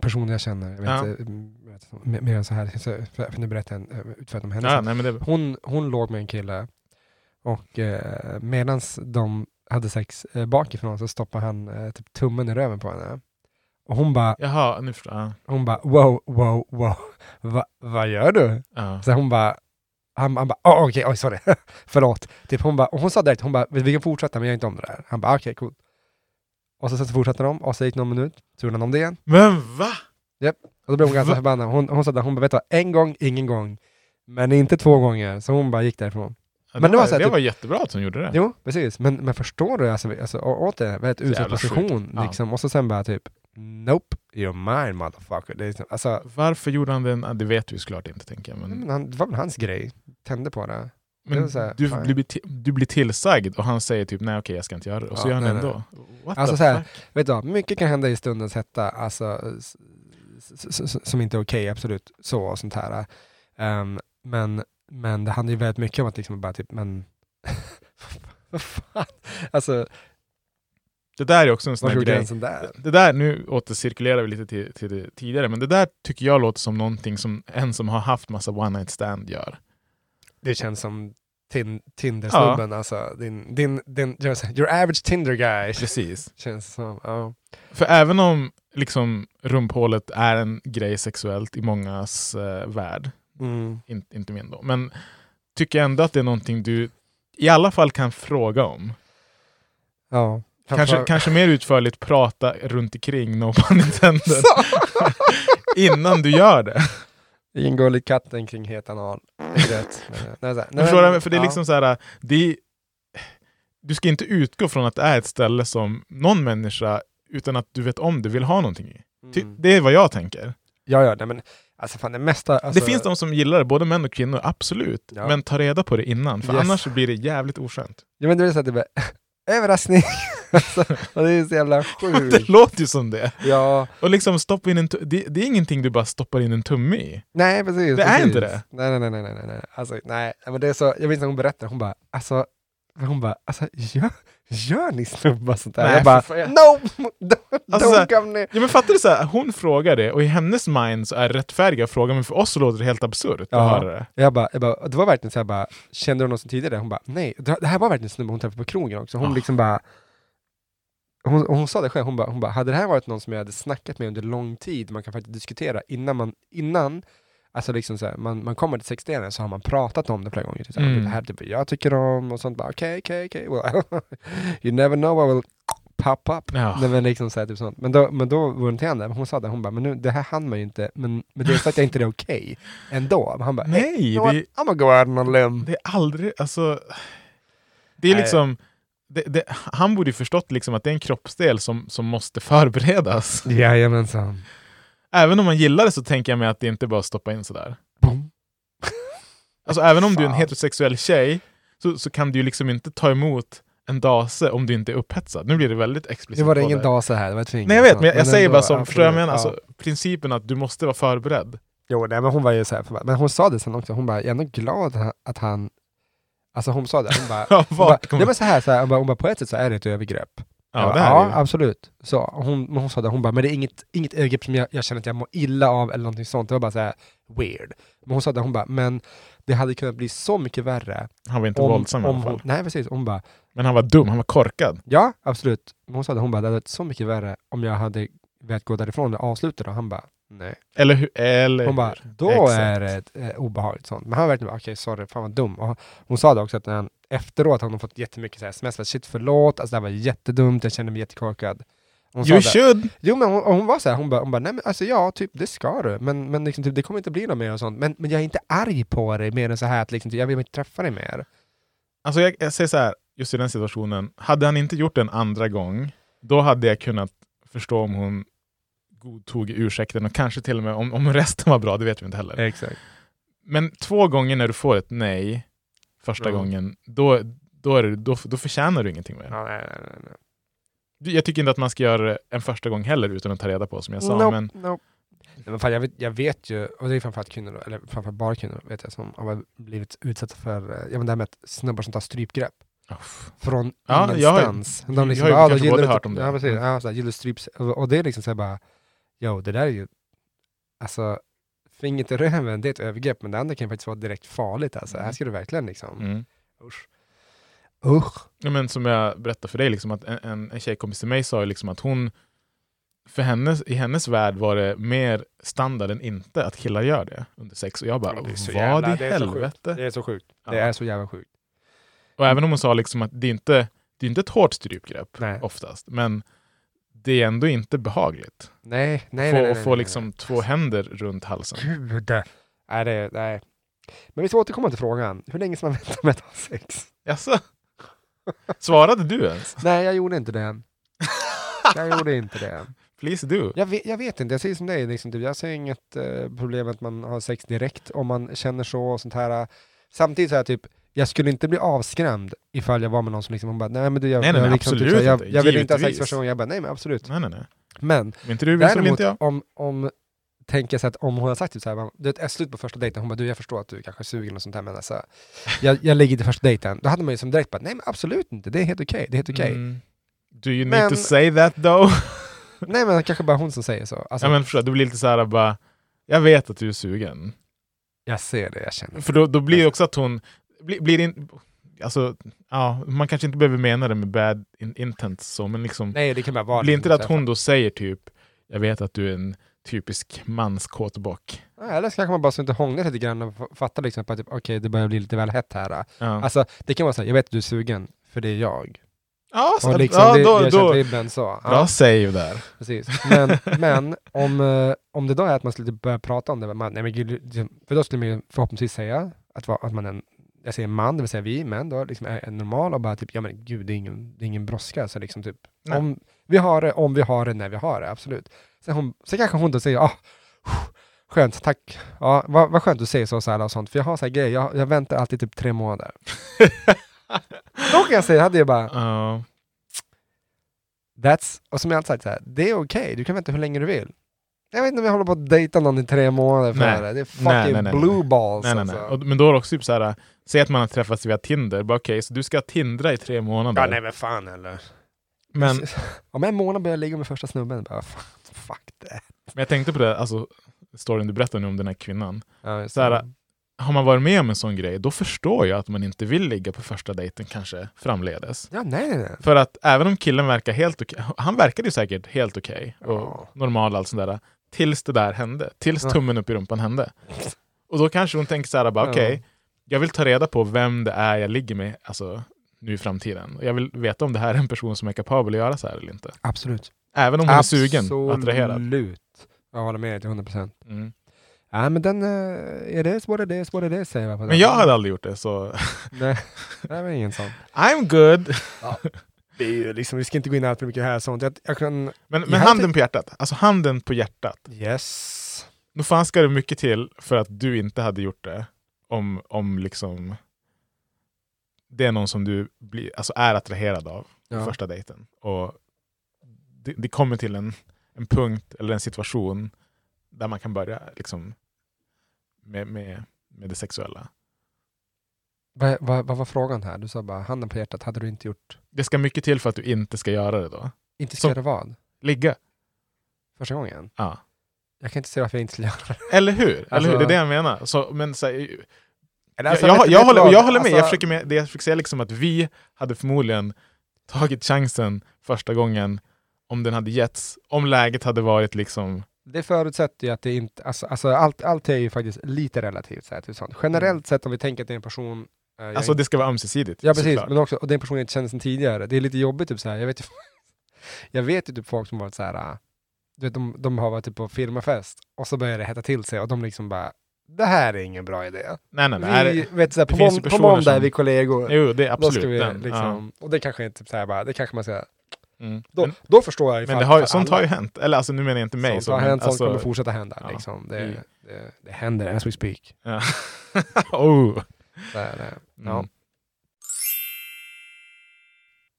Speaker 9: person jag känner, jag vet
Speaker 10: Ja.
Speaker 9: inte mm, jag vet inte, mer- mer än så här, så- för, för nu berättar jag en, eh, utfört om henne.
Speaker 10: Ja, nej, men det,
Speaker 9: hon, hon låg med en kille och eh, medan de hade sex eh, bakifrån så stoppade han eh, typ tummen i röven på henne. Och hon bara,
Speaker 10: jaha, nu förstår jag.
Speaker 9: hon bara, wow, wow, wow, Va, vad gör du?
Speaker 10: Ja,
Speaker 9: Så hon bara, han, han bara, oh, okej, oj, sorry, förlåt. Typ hon bara, och hon sa direkt, hon bara, vi vi kan fortsätta men jag är inte om det där. Han bara, "Ah, okej, cool. Och så, så fortsatte de, och så gick någon minut, så gjorde han om det igen.
Speaker 10: Men va?
Speaker 9: Och då blev hon ganska
Speaker 10: Va?
Speaker 9: förbannad. Hon, hon sa att hon bara, vet du vad, en gång, ingen gång. Men inte två gånger, så hon bara gick därifrån.
Speaker 10: Ja,
Speaker 9: Men det var
Speaker 10: var,
Speaker 9: så här
Speaker 10: det
Speaker 9: typ-
Speaker 10: var jättebra att hon gjorde det.
Speaker 9: Jo, precis. Men, men förstår du? Alltså, alltså, å- återigen, väldigt utsatt
Speaker 10: jävla
Speaker 9: position.
Speaker 10: sjukt. Ja.
Speaker 9: Liksom. Och så sen bara typ, nope, you're mine motherfucker. Det är liksom, alltså,
Speaker 10: Varför gjorde han den? Ja, Det vet du ju såklart inte, tänker jag. Men,
Speaker 9: men han, det var väl hans grej. Tände på det. Mm, det är
Speaker 10: men
Speaker 9: så här,
Speaker 10: du,
Speaker 9: fan.
Speaker 10: du, blir ti- du blir tillsagd och han säger typ nej okej jag ska inte göra det. Och så
Speaker 9: Ja,
Speaker 10: gör han
Speaker 9: nej,
Speaker 10: det ändå. What
Speaker 9: Alltså
Speaker 10: the
Speaker 9: så här-
Speaker 10: fuck?
Speaker 9: Vet du vad, mycket kan hända i stundens hetta, alltså, s- s- s- som inte är okej, absolut. Så och sånt här. Ehm, men, men det handlar ju väldigt mycket om att liksom bara typ, men... Vad fan? Alltså,
Speaker 10: Det där är också en sån
Speaker 9: var
Speaker 10: här
Speaker 9: går
Speaker 10: grej.
Speaker 9: gränsen där?
Speaker 10: Det där, nu återcirkulerar vi lite till, till det tidigare, men det där tycker jag låter som någonting som en som har haft massa one night stand gör.
Speaker 9: Det känns som tin, Tinder-snubben, alltså. Din, din, din, your average Tinder guy.
Speaker 10: Precis.
Speaker 9: Känns det som. Ja.
Speaker 10: För även om liksom, rumphålet är en grej sexuellt i mångas eh, värld,
Speaker 9: Mm.
Speaker 10: in, inte min då. Men tycker jag ändå att det är någonting du i alla fall kan fråga om.
Speaker 9: Ja.
Speaker 10: Kanske, kanske mer utförligt prata runt omkring no pun intended, innan du gör det.
Speaker 9: Ingår i katten kring het anal. Rätt. Nej, nej, nej, nej,
Speaker 10: Förstår du?
Speaker 9: men-
Speaker 10: För det är
Speaker 9: ja.
Speaker 10: liksom så här, det är, du ska inte utgå från att det är ett ställe som någon människa, utan att du vet om det, vill ha någonting i. Ty-
Speaker 9: Mm.
Speaker 10: Det är vad jag tänker.
Speaker 9: Ja, ja, nej, men Alltså fan det mesta... Alltså,
Speaker 10: det finns de som gillar det, både män och kvinnor, absolut.
Speaker 9: Ja.
Speaker 10: Men ta reda på det innan, för
Speaker 9: Yes.
Speaker 10: annars så blir det jävligt oskönt.
Speaker 9: Ja men det är så att det bara, överraskning! alltså, och det är så jävla
Speaker 10: Det
Speaker 9: sjukt.
Speaker 10: låter ju som det.
Speaker 9: Ja,
Speaker 10: Och liksom stoppa in en tu- det, det är ingenting du bara stoppar in en tumme i.
Speaker 9: nej precis.
Speaker 10: Det är
Speaker 9: precis.
Speaker 10: inte det.
Speaker 9: Nej, nej, nej, nej, nej, nej. Alltså, nej. Men det är så, jag minns när hon berättade, hon bara, alltså, hon bara, alltså, gör, gör ni snubbar sånt där?
Speaker 10: Nej,
Speaker 9: jag bara,
Speaker 10: för fan.
Speaker 9: no! Don't,
Speaker 10: Alltså, så här-
Speaker 9: don't come near!
Speaker 10: Ja, men fattar du så här, hon frågar det och i hennes mind så är det rättfärdiga frågan, men för oss så låter det helt absurt
Speaker 9: Ja.
Speaker 10: att höra det.
Speaker 9: Jag bara, jag bara, det var verkligen så jag bara, kände du någon som tidigare? Hon bara, nej. Det det här var verkligen en snubbe hon träffade på krogen också. Hon
Speaker 10: Ah.
Speaker 9: liksom bara, hon, hon sa det själv, hon bara, hon bara, hade det här varit någon som jag hade snackat med under lång tid, man kan faktiskt diskutera innan man, innan, alltså liksom så här, man, man kommer till sexdelen så har man pratat om det flera gånger. Typ så här,
Speaker 10: Mm.
Speaker 9: Det här typ, jag tycker om och sånt, bara okej, okej, okej, well, you never know I will pop up.
Speaker 10: Ja.
Speaker 9: Nej, men liksom så här, typ sånt. Men då, men då var hon till henne, hon sa det, hon bara, men nu, det här hann man ju inte, men, men det är så att jag inte det är okej ändå. Men Han bara,
Speaker 10: Nej,
Speaker 9: "Hey, you know
Speaker 10: det-
Speaker 9: what? I'm gonna go out on a limb.
Speaker 10: Det är aldrig, alltså... Det är
Speaker 9: Nej.
Speaker 10: liksom... Det, det, han borde ju förstått liksom att det är en kroppsdel som, som måste förberedas.
Speaker 9: Jajamensan.
Speaker 10: Även om man gillar det så tänker jag mig att det inte bara är att stoppa in sådär.
Speaker 9: Boom.
Speaker 10: Alltså även om du är en
Speaker 9: Fan.
Speaker 10: heterosexuell tjej så, så kan du ju liksom inte ta emot en dase om du inte är upphetsad. Nu blir det väldigt explicit.
Speaker 9: Det var det
Speaker 10: på
Speaker 9: ingen
Speaker 10: det.
Speaker 9: dag så här, det var ett fingert
Speaker 10: Nej jag vet,
Speaker 9: sånt.
Speaker 10: Liksom men jag, jag säger
Speaker 9: ändå,
Speaker 10: bara som,
Speaker 9: absolut.
Speaker 10: förstår jag vad jag menar?
Speaker 9: Ja.
Speaker 10: Alltså, principen att du måste vara förberedd.
Speaker 9: Jo, nej, men hon var ju så här, förbannad. men hon sa det sen också, hon bara, jag är ändå glad att han- att han, alltså hon sa det, hon bara,
Speaker 10: Ja,
Speaker 9: hon bara
Speaker 10: vart kommer-
Speaker 9: nej men så här, så här hon, bara, hon bara, på ett sätt så är det ett övergrepp.
Speaker 10: Ja,
Speaker 9: Jag bara,
Speaker 10: det här är
Speaker 9: ja
Speaker 10: ju-
Speaker 9: absolut. Så, och hon, men hon sa det, hon bara, men det är inget, inget övergrepp som jag, jag känner att jag mår illa av eller någonting sånt, det var bara så här weird. Men hon sa det, hon bara, men det hade kunnat bli så mycket värre.
Speaker 10: Han var inte våldsam i
Speaker 9: om
Speaker 10: alla fall.
Speaker 9: hon, Nej precis, hon bara,
Speaker 10: Men han var dum, han var korkad.
Speaker 9: Ja, absolut. Men Hon sa att hon bara, det hade varit så mycket värre om jag hade velat gå därifrån och avsluta det. Och han bara, nej.
Speaker 10: Eller hur? Eller
Speaker 9: Hon bara,
Speaker 10: hur?
Speaker 9: då
Speaker 10: Exakt.
Speaker 9: är det ett, eh, obehagligt sånt. Men han verkligen bara, okej, sorry, fan vad dum. Och hon sa det också att när han, efteråt har hon fått jättemycket så här sms, shit förlåt, alltså det här var jättedumt, jag kände mig jättekorkad. Hon sa
Speaker 10: You
Speaker 9: det.
Speaker 10: should!
Speaker 9: Jo men hon, och hon var så här, hon bara, hon bara, nej men alltså ja, typ det ska du, men, men liksom, typ, det kommer inte bli något mer och sånt. Men, men jag är inte arg på dig mer än så här att liksom, typ, jag vill inte träffa dig mer.
Speaker 10: Alltså jag, jag säger så här, just i den situationen, hade han inte gjort det en andra gång, då hade jag kunnat förstå om hon godtog ursäkten och kanske till och med om, om resten var bra, det vet vi inte heller.
Speaker 9: Exakt.
Speaker 10: Men två gånger när du får ett nej, första
Speaker 9: Ja.
Speaker 10: gången, då, då, är det, då, då förtjänar du ingenting mer.
Speaker 9: Ja, nej, nej, nej, nej.
Speaker 10: Jag tycker inte att man ska göra det en första gång heller utan att ta reda på, som jag sa.
Speaker 9: Nope,
Speaker 10: Men
Speaker 9: nope. Nej, men fan, jag, vet, jag vet ju, och det är framförallt kvinnor, då, eller framförallt bara kvinnor, vet jag, som har blivit utsatta för eh, ja, men det här med att snubbar som tar strypgrepp
Speaker 10: Uff.
Speaker 9: från
Speaker 10: Ja, jag har-
Speaker 9: ingenstans.
Speaker 10: jag
Speaker 9: de liksom,
Speaker 10: har ju
Speaker 9: ja, då
Speaker 10: kanske
Speaker 9: gillar
Speaker 10: både
Speaker 9: du
Speaker 10: hört
Speaker 9: typ-
Speaker 10: om det.
Speaker 9: Ja, precis.
Speaker 10: Mm.
Speaker 9: Ja, så här, gillar du stryps, och, och det är liksom så här bara, jo, det där är ju, alltså, fingret i röven, det är ett övergrepp, men det andra kan ju faktiskt vara direkt farligt. Alltså. Här ska du verkligen liksom,
Speaker 10: mm.
Speaker 9: usch. Usch.
Speaker 10: Ja, men som jag berättade för dig, liksom, att en, en, en tjejkompis till mig sa ju liksom att hon, för hennes, i hennes värld var det mer standard än inte att killar gör det under sex. Och jag bara,
Speaker 9: Ja, det är så
Speaker 10: vad
Speaker 9: jävla-
Speaker 10: i
Speaker 9: det är så sjukt.
Speaker 10: helvete?
Speaker 9: Det är så sjukt.
Speaker 10: Ja.
Speaker 9: Det är så jävla sjukt.
Speaker 10: Och även om hon sa liksom att det är inte det är inte ett hårt strypgrepp
Speaker 9: Nej.
Speaker 10: oftast, men det är ändå inte behagligt.
Speaker 9: Nej, nej,
Speaker 10: Få,
Speaker 9: nej. nej,
Speaker 10: att
Speaker 9: nej,
Speaker 10: få
Speaker 9: nej,
Speaker 10: liksom
Speaker 9: nej.
Speaker 10: två händer runt halsen.
Speaker 9: Gud! Nej, det, nej. Men vi ska återkomma till frågan. Hur länge ska man vänta med att ha sex?
Speaker 10: Jaså? Svarade du ens?
Speaker 9: Nej, jag gjorde inte det. Jag gjorde inte det.
Speaker 10: Please do.
Speaker 9: Jag vet, jag vet inte, jag säger som dig. Liksom, typ, jag ser inget eh, problem att man har sex direkt om man känner så och sånt här. Samtidigt så här, typ, jag skulle inte bli avskrämd ifall jag var med någon som liksom, hon bara, nej men du, jag,
Speaker 10: Nej, nej,
Speaker 9: jag,
Speaker 10: nej,
Speaker 9: liksom, typ,
Speaker 10: absolut
Speaker 9: så här, jag,
Speaker 10: inte.
Speaker 9: jag vill inte ha sex
Speaker 10: Givetvis. Mm.
Speaker 9: första gången. Jag bara, nej men absolut.
Speaker 10: Nej, nej, nej.
Speaker 9: Men
Speaker 10: Om inte du vill så vill
Speaker 9: Däremot,
Speaker 10: inte jag.
Speaker 9: om, om tänker jag så att om hon har sagt typ så här, man- du vet, är slut på första dejten, hon bara du jag förstår att du kanske är sugen och sånt här men alltså, jag, jag lägger inte första dejten. Då hade man ju som direkt bara, nej men absolut inte, det är helt okej, det är helt okej.
Speaker 10: Mm. Do you need
Speaker 9: Men-
Speaker 10: to say that though?
Speaker 9: Nej men kanske bara hon som säger så. Alltså,
Speaker 10: Ja, men förstå, det blir lite så här bara, jag vet att du är sugen.
Speaker 9: Jag ser det, jag känner.
Speaker 10: För då, då blir det också att hon, blir, blir det in, alltså, ja, man kanske inte behöver mena det med bad in, intent så, men liksom,
Speaker 9: Nej det kan bara vara
Speaker 10: blir inte det
Speaker 9: så
Speaker 10: att
Speaker 9: här,
Speaker 10: hon då säger typ, jag vet att du är en typisk manskåtbock.
Speaker 9: "Nej, Eller så kanske man bara så inte hånglar lite grann och f- fattar liksom att typ, okej det börjar bli lite väl hett här.
Speaker 10: Ja,
Speaker 9: Alltså det kan vara så här, jag vet att du är sugen, för det är jag.
Speaker 10: ja, så,
Speaker 9: Och liksom,
Speaker 10: Alltså, ja
Speaker 9: det,
Speaker 10: då,
Speaker 9: jag har
Speaker 10: då,
Speaker 9: känt vibben så. Ja.
Speaker 10: bra save där.
Speaker 9: Precis. Men, men om, eh, om det då är att man skulle typ börja prata om det, man, nej men gud, det- för då skulle man ju förhoppningsvis säga att, va- att man är en, jag säger man, det vill säga vi män då, liksom är, är normal och bara typ, ja men gud, det är ingen, det är ingen brådska. Så liksom typ,
Speaker 10: Nej.
Speaker 9: om vi har det, om vi har det, när vi har det, absolut. Sen, hon, sen kanske hon då säger, ah, Skönt, tack. Ja, vad, vad skönt du säger så, så här och sånt, för jag har så här grejer, jag, jag väntar alltid typ tre månader. Då kan jag säga, hade jag bara,
Speaker 10: Ja.
Speaker 9: that's, och som jag alltid sagt så här, det är okej, du kan vänta hur länge du vill. Jag vet inte om jag håller på att dejta någon i tre månader för
Speaker 10: Nej.
Speaker 9: det. Det är fucking
Speaker 10: Nej, nej, nej, nej.
Speaker 9: blue balls
Speaker 10: nej, nej, nej.
Speaker 9: alltså.
Speaker 10: Och, men då är det också typ så här, säg att man har träffats via Tinder, bara okej, så du ska tindra i tre månader.
Speaker 9: Ja, nej men fan eller.
Speaker 10: men, men
Speaker 9: Om en månad börjar jag ligga med första snubben, bara fan, fuck det.
Speaker 10: jag tänkte på det, alltså storyn du berättade nu om den här kvinnan.
Speaker 9: Ja,
Speaker 10: Så här, har man varit med om en sån grej, då förstår jag att man inte vill ligga på första dejten kanske framledes.
Speaker 9: ja, nej, nej, nej.
Speaker 10: För att även om killen verkar helt okej, han verkade ju säkert helt okej och
Speaker 9: Ja.
Speaker 10: normal och allt sånt där, tills det där hände. Tills
Speaker 9: Ja.
Speaker 10: tummen upp i rumpan hände. Och då kanske hon tänker så här, bara,
Speaker 9: Ja.
Speaker 10: okej, jag vill ta reda på vem det är jag ligger med alltså, nu i framtiden. Och jag vill veta om det här är en person som är kapabel att göra så här eller inte.
Speaker 9: Absolut.
Speaker 10: Även om hon är sugen och attraherad.
Speaker 9: Absolut. Jag håller med dig till 100 procent.
Speaker 10: Mm.
Speaker 9: Ja, men den, eh, är det what it is, what it is, säger jag på den.
Speaker 10: Men jag hade aldrig gjort det, så
Speaker 9: Nej, det var ingen sån.
Speaker 10: I'm good.
Speaker 9: Det är ju liksom, vi ska inte gå in allt för mycket här sånt. Jag, jag kan...
Speaker 10: Men, men
Speaker 9: hade
Speaker 10: handen
Speaker 9: tänkt-
Speaker 10: på hjärtat, alltså handen på hjärtat.
Speaker 9: Yes.
Speaker 10: Nog fan ska det mycket till för att du inte hade gjort det. Om, om liksom det är någon som du blir, alltså är attraherad av på
Speaker 9: Ja.
Speaker 10: första dejten. Och det, det kommer till en, en punkt eller en situation där man kan börja liksom med, med, med det sexuella.
Speaker 9: Vad vad- vad var frågan här? Du sa bara handen på hjärtat, hade du inte gjort...
Speaker 10: Det ska mycket till för att du inte ska göra det då.
Speaker 9: Inte ska
Speaker 10: Som-
Speaker 9: göra vad?
Speaker 10: Ligga.
Speaker 9: Första gången?
Speaker 10: Ja.
Speaker 9: Jag kan inte se varför jag inte skulle göra det.
Speaker 10: Eller hur? Eller
Speaker 9: Alltså-
Speaker 10: hur? Det är det jag menar. Så, men, så här,
Speaker 9: Eller alltså,
Speaker 10: jag,
Speaker 9: vet
Speaker 10: jag,
Speaker 9: du-
Speaker 10: jag,
Speaker 9: vet du
Speaker 10: håller,
Speaker 9: vad?
Speaker 10: jag håller med. Jag
Speaker 9: Alltså,
Speaker 10: försöker med. Det jag försöker säga liksom att vi hade förmodligen tagit chansen första gången om den hade getts. Om läget hade varit liksom...
Speaker 9: Det förutsätter ju att det inte, alltså, alltså allt, allt är ju faktiskt lite relativt så här, till sånt. Generellt sett om vi tänker att det är en person... eh, jag
Speaker 10: Alltså det ska vara ömsesidigt.
Speaker 9: Ja precis,
Speaker 10: såklart.
Speaker 9: men också, och det är en person jag inte känner sedan tidigare. Det är lite jobbigt, typ så här. Jag, vet ju, jag vet ju typ folk som varit så här, ah, du vet, de, de har varit typ på firmafest och så börjar det hetta till sig och de liksom bara, det här är ingen bra idé.
Speaker 10: Nej, nej, nej.
Speaker 9: vi,
Speaker 10: är det-
Speaker 9: vet, så här, på,
Speaker 10: finns ju
Speaker 9: mån, på
Speaker 10: personer
Speaker 9: måndag är
Speaker 10: som-
Speaker 9: vi kollegor.
Speaker 10: Jo, det
Speaker 9: Då
Speaker 10: är
Speaker 9: ska
Speaker 10: absolut
Speaker 9: vi,
Speaker 10: den.
Speaker 9: liksom, Och det kanske är typ så här, bara, det kanske man ska,
Speaker 10: Ja. Mm.
Speaker 9: då,
Speaker 10: men
Speaker 9: då förstår jag
Speaker 10: men
Speaker 9: ifall-
Speaker 10: det har,
Speaker 9: för
Speaker 10: sånt
Speaker 9: alla.
Speaker 10: har ju hänt. Eller alltså nu menar jag inte mig.
Speaker 9: Sånt
Speaker 10: så,
Speaker 9: har
Speaker 10: men,
Speaker 9: hänt, sånt
Speaker 10: alltså,
Speaker 9: kommer fortsätta hända.
Speaker 10: ja.
Speaker 9: Liksom.
Speaker 10: Mm.
Speaker 9: Det, det, det händer as we speak.
Speaker 10: ja. oh.
Speaker 9: Så här, det, ja.
Speaker 10: Mm.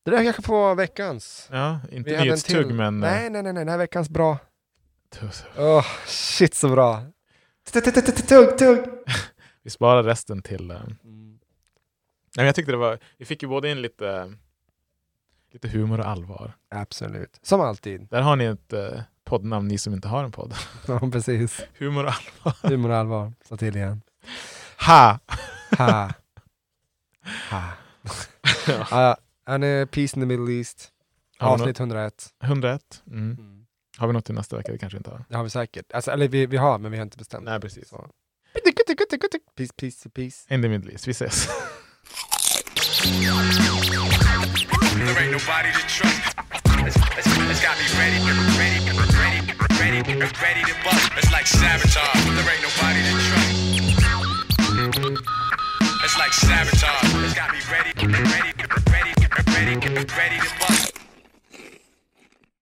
Speaker 9: det där kanske får vara veckans.
Speaker 10: ja, inte
Speaker 9: Vi hade en
Speaker 10: nyhetstugg
Speaker 9: till.
Speaker 10: men... eh,
Speaker 9: Nej, nej, nej, nej, den här veckans bra.
Speaker 10: tuss.
Speaker 9: Åh, shit så bra. Tugg, tugg.
Speaker 10: Vi sparar resten till... eh, Nej, men jag tyckte det var, vi fick ju både in lite, lite humor och allvar.
Speaker 9: Absolut. Som alltid.
Speaker 10: Där har ni ett eh, poddnamn, ni som inte har en podd.
Speaker 9: Ja, precis.
Speaker 10: Humor och allvar.
Speaker 9: Humor och allvar. Så till igen.
Speaker 10: Ha!
Speaker 9: Ha. Ha. Ja, Han är Peace in the Middle East.
Speaker 10: Har vi något,
Speaker 9: Avsnitt 101.
Speaker 10: 101. Mm. Har vi något till nästa vecka? Det kanske inte har.
Speaker 9: Det har vi säkert. Alltså, eller vi, vi har, men vi har inte bestämt.
Speaker 10: Nej, precis.
Speaker 9: Så. Peace, peace, peace.
Speaker 10: In the Middle East. Vi ses.
Speaker 7: It's like sabotage. It's got me ready, ready,